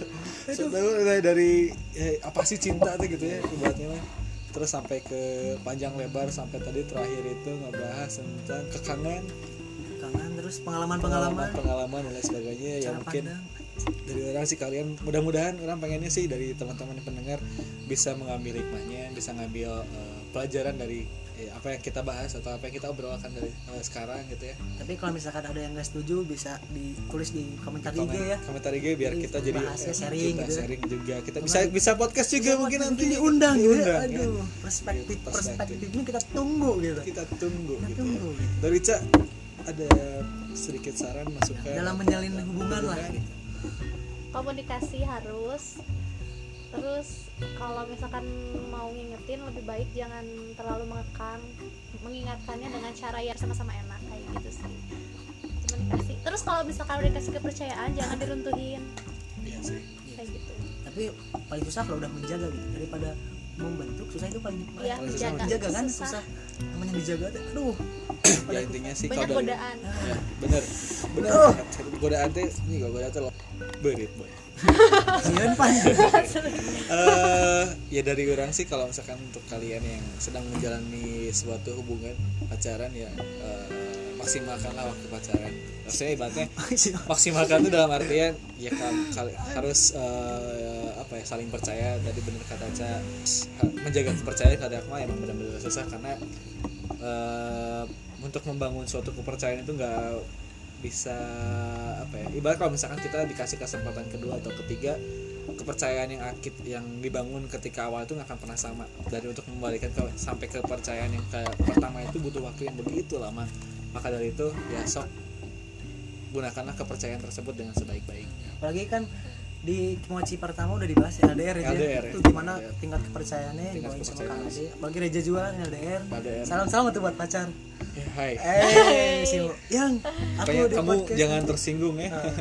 A: Sebenarnya mulai dari eh, apa sih cinta tuh gitu ya ibaratnya mah. terus sampai ke panjang lebar sampai tadi terakhir itu ngebahas tentang kekangan
B: kangen terus pengalaman pengalaman
A: pengalaman dan lain sebagainya ya
B: cara
A: mungkin
B: pandang
A: dari orang sih kalian mudah-mudahan orang pengennya sih dari teman-teman pendengar bisa mengambil hikmahnya bisa ngambil eh, pelajaran dari eh, apa yang kita bahas atau apa yang kita obrolkan dari eh, sekarang gitu ya
B: tapi kalau misalkan ada yang nggak setuju bisa ditulis di komentar
A: Komen-
B: IG ya
A: komentar IG biar
B: Jadi
A: kita jadi
B: bahasnya
A: eh,
B: sharing
A: kita
B: gitu ya.
A: sharing juga kita bisa bisa podcast juga mungkin nanti
B: diundang gitu ya.
A: Diundang, ya.
B: aduh perspektif
A: Perspektif.
B: perspektifnya kita tunggu gitu
A: kita tunggu
B: kita
A: gitu
B: tunggu gitu.
A: dari Ca ada sedikit saran masukan
B: dalam menjalin hubungan lah gitu.
A: Hubungan.
C: komunikasi harus terus kalau misalkan mau ngingetin lebih baik jangan terlalu mengekang mengingatkannya dengan cara yang sama-sama enak kayak gitu sih Cuman dikasih terus kalau misalkan udah dikasih kepercayaan jangan diruntuhin
A: Iya sih.
C: kayak gitu
B: tapi paling susah kalau udah menjaga gitu daripada membentuk susah itu paling
C: Iya,
B: paling
A: menjaga.
B: menjaga kan
C: Susah.
B: susah namanya dijaga tuh aduh
A: ya intinya sih
C: banyak
A: kalau dari-
C: godaan
A: ya, bener bener
B: Oh.
A: banget. godaan teh nih kalau godaan teh lo berit boy
B: jangan pan
A: Eh, ya dari orang sih kalau misalkan untuk kalian yang sedang menjalani suatu hubungan pacaran ya eh, maksimalkanlah waktu pacaran maksudnya ibaratnya maksimalkan itu dalam artian ya kal- kal- harus eh, apa ya saling percaya tadi bener kata Aca ha- menjaga kepercayaan pada Akmal emang benar-benar susah karena eh, untuk membangun suatu kepercayaan itu nggak bisa apa ya ibarat kalau misalkan kita dikasih kesempatan kedua atau ketiga kepercayaan yang akit yang dibangun ketika awal itu nggak akan pernah sama dari untuk membalikan ke, sampai kepercayaan yang kayak pertama itu butuh waktu yang begitu lama maka dari itu ya sok gunakanlah kepercayaan tersebut dengan sebaik-baiknya.
B: apalagi kan di mochi pertama udah dibahas LDR, itu ya
A: LDR,
B: itu gimana
A: LDR.
B: tingkat kepercayaannya
A: Iya. Tingkat
B: dibawain sama
A: kepercayaan.
B: Kang Ade apalagi Reja juga kan LDR
A: LDR.
B: salam salam tuh buat pacar
A: Eh, Hai.
B: eh si yang aku
A: Kayak
B: di
A: kamu
B: podcast.
A: jangan Iya. tersinggung ya.
B: Nah,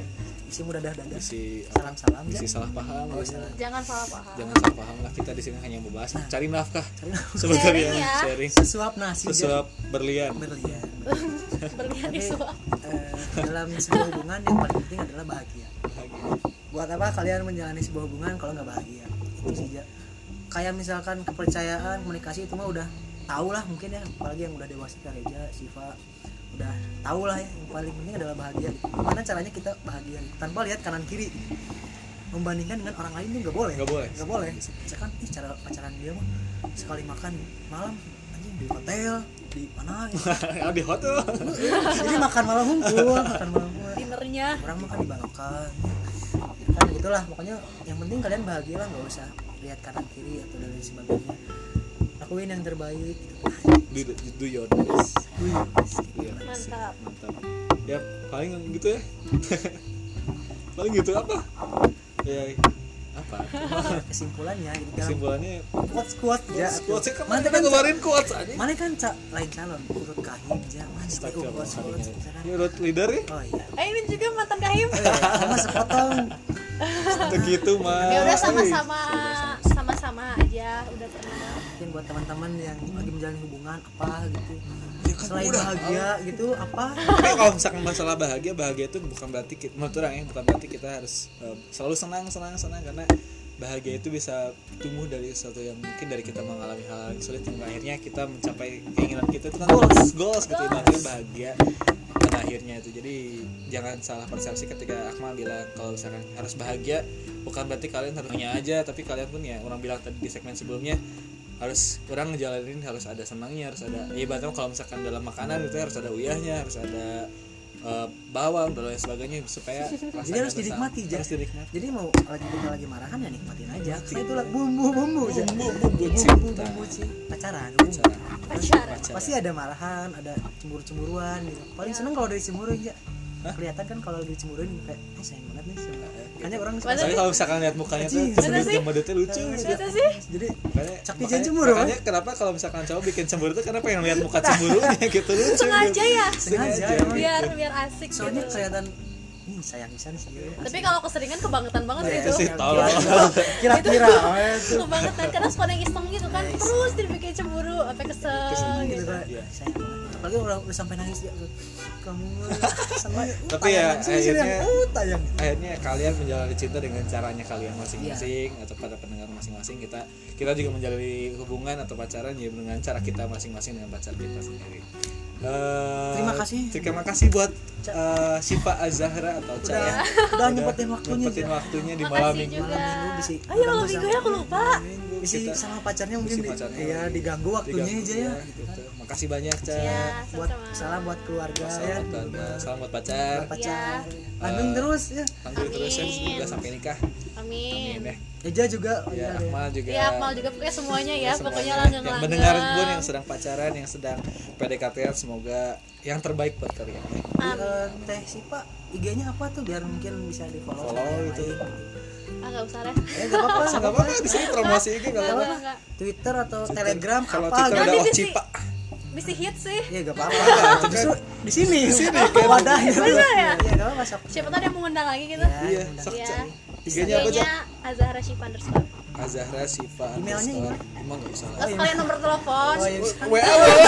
B: si muda dah dadah
A: Isi
B: salam salam ya
A: isi salah paham.
B: Oh,
A: ya.
B: salah.
C: jangan salah paham
A: Jangan salah paham lah kita di sini hanya membahas cari nafkah.
C: Sharing
A: Sebetulnya
C: ya.
A: sharing
B: sesuap nasi
A: sesuap berlian.
B: Jan. berlian
C: berlian
B: Tapi,
C: di suap
B: eh, dalam sebuah hubungan yang paling penting adalah bahagia buat apa kalian menjalani sebuah hubungan kalau nggak bahagia itu sih Ja. kayak misalkan kepercayaan komunikasi itu mah udah tau lah mungkin ya apalagi yang udah dewasa kayak Reja Siva udah tau lah ya yang paling penting adalah bahagia gimana caranya kita bahagia tanpa lihat kanan kiri membandingkan dengan orang lain tuh nggak boleh
A: Nggak boleh.
B: nggak boleh misalkan ih cara pacaran dia mah sekali makan malam anjing di hotel di mana gitu.
A: Ah, di hotel.
B: jadi makan malam hunkul makan malam hunkul
C: dinernya
B: orang makan di balokan kan gitulah pokoknya yang penting kalian bahagia lah nggak usah lihat kanan kiri atau dan lain sebagainya lakuin yang terbaik gitu.
A: Do, do your best.
B: Wih,
A: Do your best.
C: Mantap.
A: Mantap. Ya paling gitu ya. paling gitu apa? Ya apa?
B: kesimpulannya gitu dalam
A: Kesimpulannya
B: kuat kuat ya
A: Quotes kan
B: mana
A: mana
B: kan
A: kemarin quotes aja.
B: mana kan ca lain calon urut kahim ya mana sih
A: Ini
B: kuat kuat misalkan.
A: menurut leader ya
B: oh iya
C: eh ini juga mantan kahim
B: Oh, iya, sama sepotong
A: begitu mah
C: ya
A: Iya.
C: udah sama-sama sama-sama aja udah pernah
B: mungkin buat teman-teman yang lagi menjalin hubungan apa gitu
A: Ya kan
B: selain
A: udah.
B: bahagia gitu apa
A: Tapi kalau misalkan masalah bahagia bahagia itu bukan berarti kita, menurut orang ya bukan berarti kita harus eh, selalu senang senang senang karena bahagia itu bisa tumbuh dari sesuatu yang mungkin dari kita mengalami hal yang sulit yang akhirnya kita mencapai keinginan kita itu kan goals goals gitu ibaratnya bahagia pada akhirnya itu jadi jangan salah persepsi ketika Akmal bilang kalau misalkan harus bahagia bukan berarti kalian harusnya aja tapi kalian pun ya orang bilang tadi di segmen sebelumnya harus orang ngejalanin harus ada senangnya harus ada ya bahkan kalau misalkan dalam makanan itu harus ada uyahnya harus ada eh, bawang dan lain sebagainya supaya rasanya
B: harus
A: bersama.
B: dinikmati, Jack.
A: harus dinikmati
B: jadi mau lagi kita lagi marahan ya nikmatin aja itu lah bumbu bumbu aja
A: bumbu bumbu
B: bumbu
A: cinta
B: bumbu sih pacaran
A: Pacaran.
C: pacaran
A: Pacaran.
B: pasti ada marahan ada cemburu cemburuan gitu paling
C: Iya.
B: seneng kalau dari cemburu aja kelihatan kan kalau lagi cemburuin kayak eh, sayang banget nih sama
A: Iya.
B: makanya orang suka
C: Masa
A: Soalnya kalau misalkan lihat mukanya tuh
B: Anjing.
A: kesedut
C: Mana sih?
A: jembadutnya lucu
B: Mana
A: gitu.
B: sih?
C: itu sih
B: jadi
A: Makanya,
B: Cak
A: makanya,
B: Pijen cemburu,
A: makanya kenapa kalau misalkan cowok bikin cemburu tuh karena pengen lihat muka cemburunya gitu lucu. gitu.
C: sengaja ya
B: sengaja
A: Sengaja.
B: emang.
C: biar biar asik
B: soalnya
C: gitu.
B: kelihatan nih sayang bisa sih dia."
C: tapi kalau gitu. keseringan kebangetan banget sih
A: Itu
C: itu
A: sih tolol.
B: gitu. kira-kira
C: Gitu.
B: oh, ya, tuh.
C: kebangetan karena suka yang iseng gitu kan terus dibikin cemburu sampai kesel
A: Kesel
B: gitu
C: gitu
B: kayak
A: Iya.
B: sayang banget apalagi orang udah sampai nangis ya kamu uh, sampai
A: Tapi ya, akhirnya-
B: uh, tayang
A: akhirnya kalian menjalani cinta dengan caranya kalian masing-masing
B: Iya.
A: atau pada pendengar masing-masing kita kita juga menjalani hubungan atau pacaran ya dengan cara kita masing-masing dengan pacar kita sendiri. Eh,
B: Terima kasih.
A: Terima kasih buat eh, Sipa Azahra atau Ca
B: Udah-
A: ya.
B: udah nyempetin waktunya,
A: nyempetin
B: Ca.
A: waktunya di
C: Makasih
A: malam minggu.
C: juga.
B: malam minggu bisa
C: oh iya malam minggu ya aku lupa
A: Minggu
B: bisa
A: kita-
B: sama pacarnya
A: mesti
B: mungkin di,
A: pacarnya
B: iya,
A: lagi.
B: diganggu waktunya
A: Diganggu,
B: aja ya Iya.
A: gitu. Makasih banyak, Ca.
C: ya
B: buat
C: sama-sama
B: salam buat keluarga ya
A: Salam buat keluarga, salam buat eh, pacar.
B: pacar
C: Iya.
B: Langgeng
A: Eh,
B: terus ya
A: Panggil terus ya,
C: Amin.
A: semoga sampai nikah.
C: amin
A: Amin ya.
B: Eja juga
A: Ya,
B: iya. ada.
A: Akmal juga.
C: ya Akmal juga pokoknya semuanya ya
A: Iya, Semuanya.
C: pokoknya
A: Yang mendengar pun yang
C: langgeng-langgeng
A: sedang pacaran, yang sedang PDKT semoga yang terbaik buat kalian ya.
C: Amin.
B: Eh, teh Sipa IG-nya apa tuh biar mungkin bisa di follow.
A: Follow iya. itu.
C: Ah nggak usah lah.
B: Eh nggak apa-apa,
A: Nggak
B: nggak
A: apa-apa
B: apa-apa.
A: di sini promosi IG nggak
C: Nggak
A: apa-apa.
C: nggak, nggak.
B: Twitter atau
A: Twitter.
B: Telegram
A: Kalau
B: apa?
A: Twitter
B: gitu.
A: ada
C: Nanti
A: oh
C: di-
A: cipa.
C: Bisa hit sih.
B: Ya nggak apa-apa. Justru di sini, di sini.
A: kan?
B: Wadahnya.
C: Bener ya?
B: Iya nggak apa-apa. sok.
C: Siapa tahu ada yang mengundang lagi gitu.
B: Ya,
A: Iya,
B: bener.
A: sok
C: Iya.
A: cek. IG-nya apa, Cak?
C: Kayaknya Azahra Shiva underscore.
A: Azahra Siva.
B: Emailnya
A: underscore. Emang nggak usah. lah.
C: Terus kalian nomor telepon.
B: Oh, iya.
A: WA WA.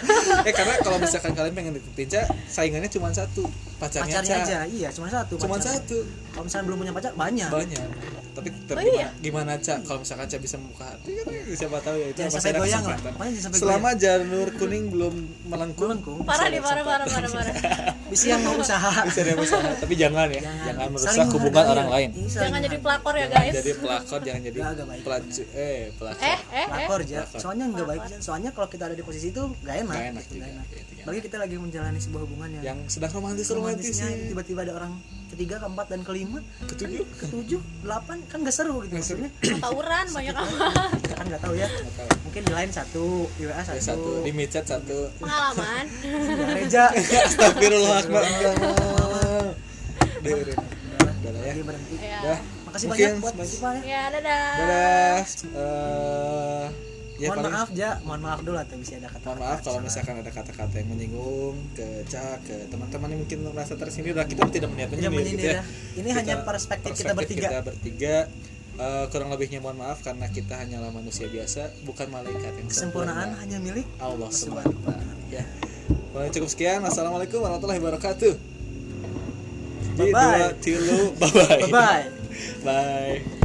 A: Eh karena kalau misalkan kalian pengen deketin Ca, saingannya cuma satu, pacarnya,
B: Pacarnya
A: Ca.
B: aja. Iya, cuma satu.
A: Cuma
B: pacarnya.
A: satu,
B: Kalau misalnya belum punya pacar banyak.
A: banyak. Tapi tetap
C: Oh, iya?
A: gimana, Ca? Kalau misalkan Ca bisa membuka hati kan siapa tahu ya itu
B: Jangan
A: masih
B: sampai
A: ada
B: goyang lah.
A: kesempatan.
B: Pokoknya jangan sampai
A: Selama janur kuning belum melengkung,
B: Melengkung.
A: Bisa
C: Parah nih,
A: ada
C: parah, parah,
A: kesempatan.
C: parah, parah.
B: Bisa yang mau usaha.
A: bisa ada usaha, tapi jangan ya, jangan, merusak
B: Saling
A: hubungan
B: menghargai.
A: orang lain.
B: Iya, saling
C: Jangan jadi
B: menghargai.
C: pelakor ya
A: Jangan
C: guys.
A: jadi pelakor, jangan jadi
B: Nggak, nggak baik.
A: pelacu, eh pelakor.
C: Eh, eh, eh.
B: Pelakor aja.
A: Pelakor.
B: Soalnya nggak baik. Jan. Soalnya kalau kita ada di posisi itu nggak enak.
A: Nggak enak
B: gitu, nggak
A: juga,
B: enak.
A: ya, intinya.
B: Apalagi kita lagi menjalani sebuah hubungan yang,
A: yang sedang romantis romantis
B: romantisnya tiba-tiba ada orang ketiga, keempat dan kelima, Kan
A: ketujuh
B: ketujuh, delapan kan nggak seru gitu
A: Nggak seru.
B: maksudnya.
C: Tawuran banyak amat.
B: Kita kan nggak tahu ya.
A: Nggak tahu.
B: Mungkin di lain satu, di WA
A: Ada
B: satu,
A: Ya, satu di micat satu
C: Pengalaman.
B: di gereja.
A: Astagfirullahaladzim Udah, udah, udah. Udah lah ya
B: Jadi berhenti.
C: Ya.
A: Udah
B: Makasih
A: Mungkin
B: banyak buat
A: sebagai-
B: Sipa ya.
C: Ya, dadah.
A: Dadah Eh, ya,
B: mohon
A: paling-
B: maaf ja, mohon maaf dulu atau bisa ada kata.
A: mohon maaf kalau misalkan ada kata-kata yang menyinggung ke Cak, ke teman-teman yang mungkin merasa tersindir lah kita tidak meniat menyindir
B: Tidak
A: gitu
B: menyindir
A: ya.
B: ya. Ini
A: Kita-
B: hanya perspektif, kita bertiga.
A: kita bertiga. Eh, kurang lebihnya mohon maaf karena kita hanyalah manusia biasa bukan malaikat yang
B: Kesempurnaan
A: sempurna.
B: hanya milik
A: Allah
B: Subhanahu
A: SWT ya Paling cukup sekian Assalamualaikum warahmatullahi wabarakatuh Di,
B: Bye-bye.
A: Iya. dua, tilu, bye-bye
B: Bye bye.
A: Bye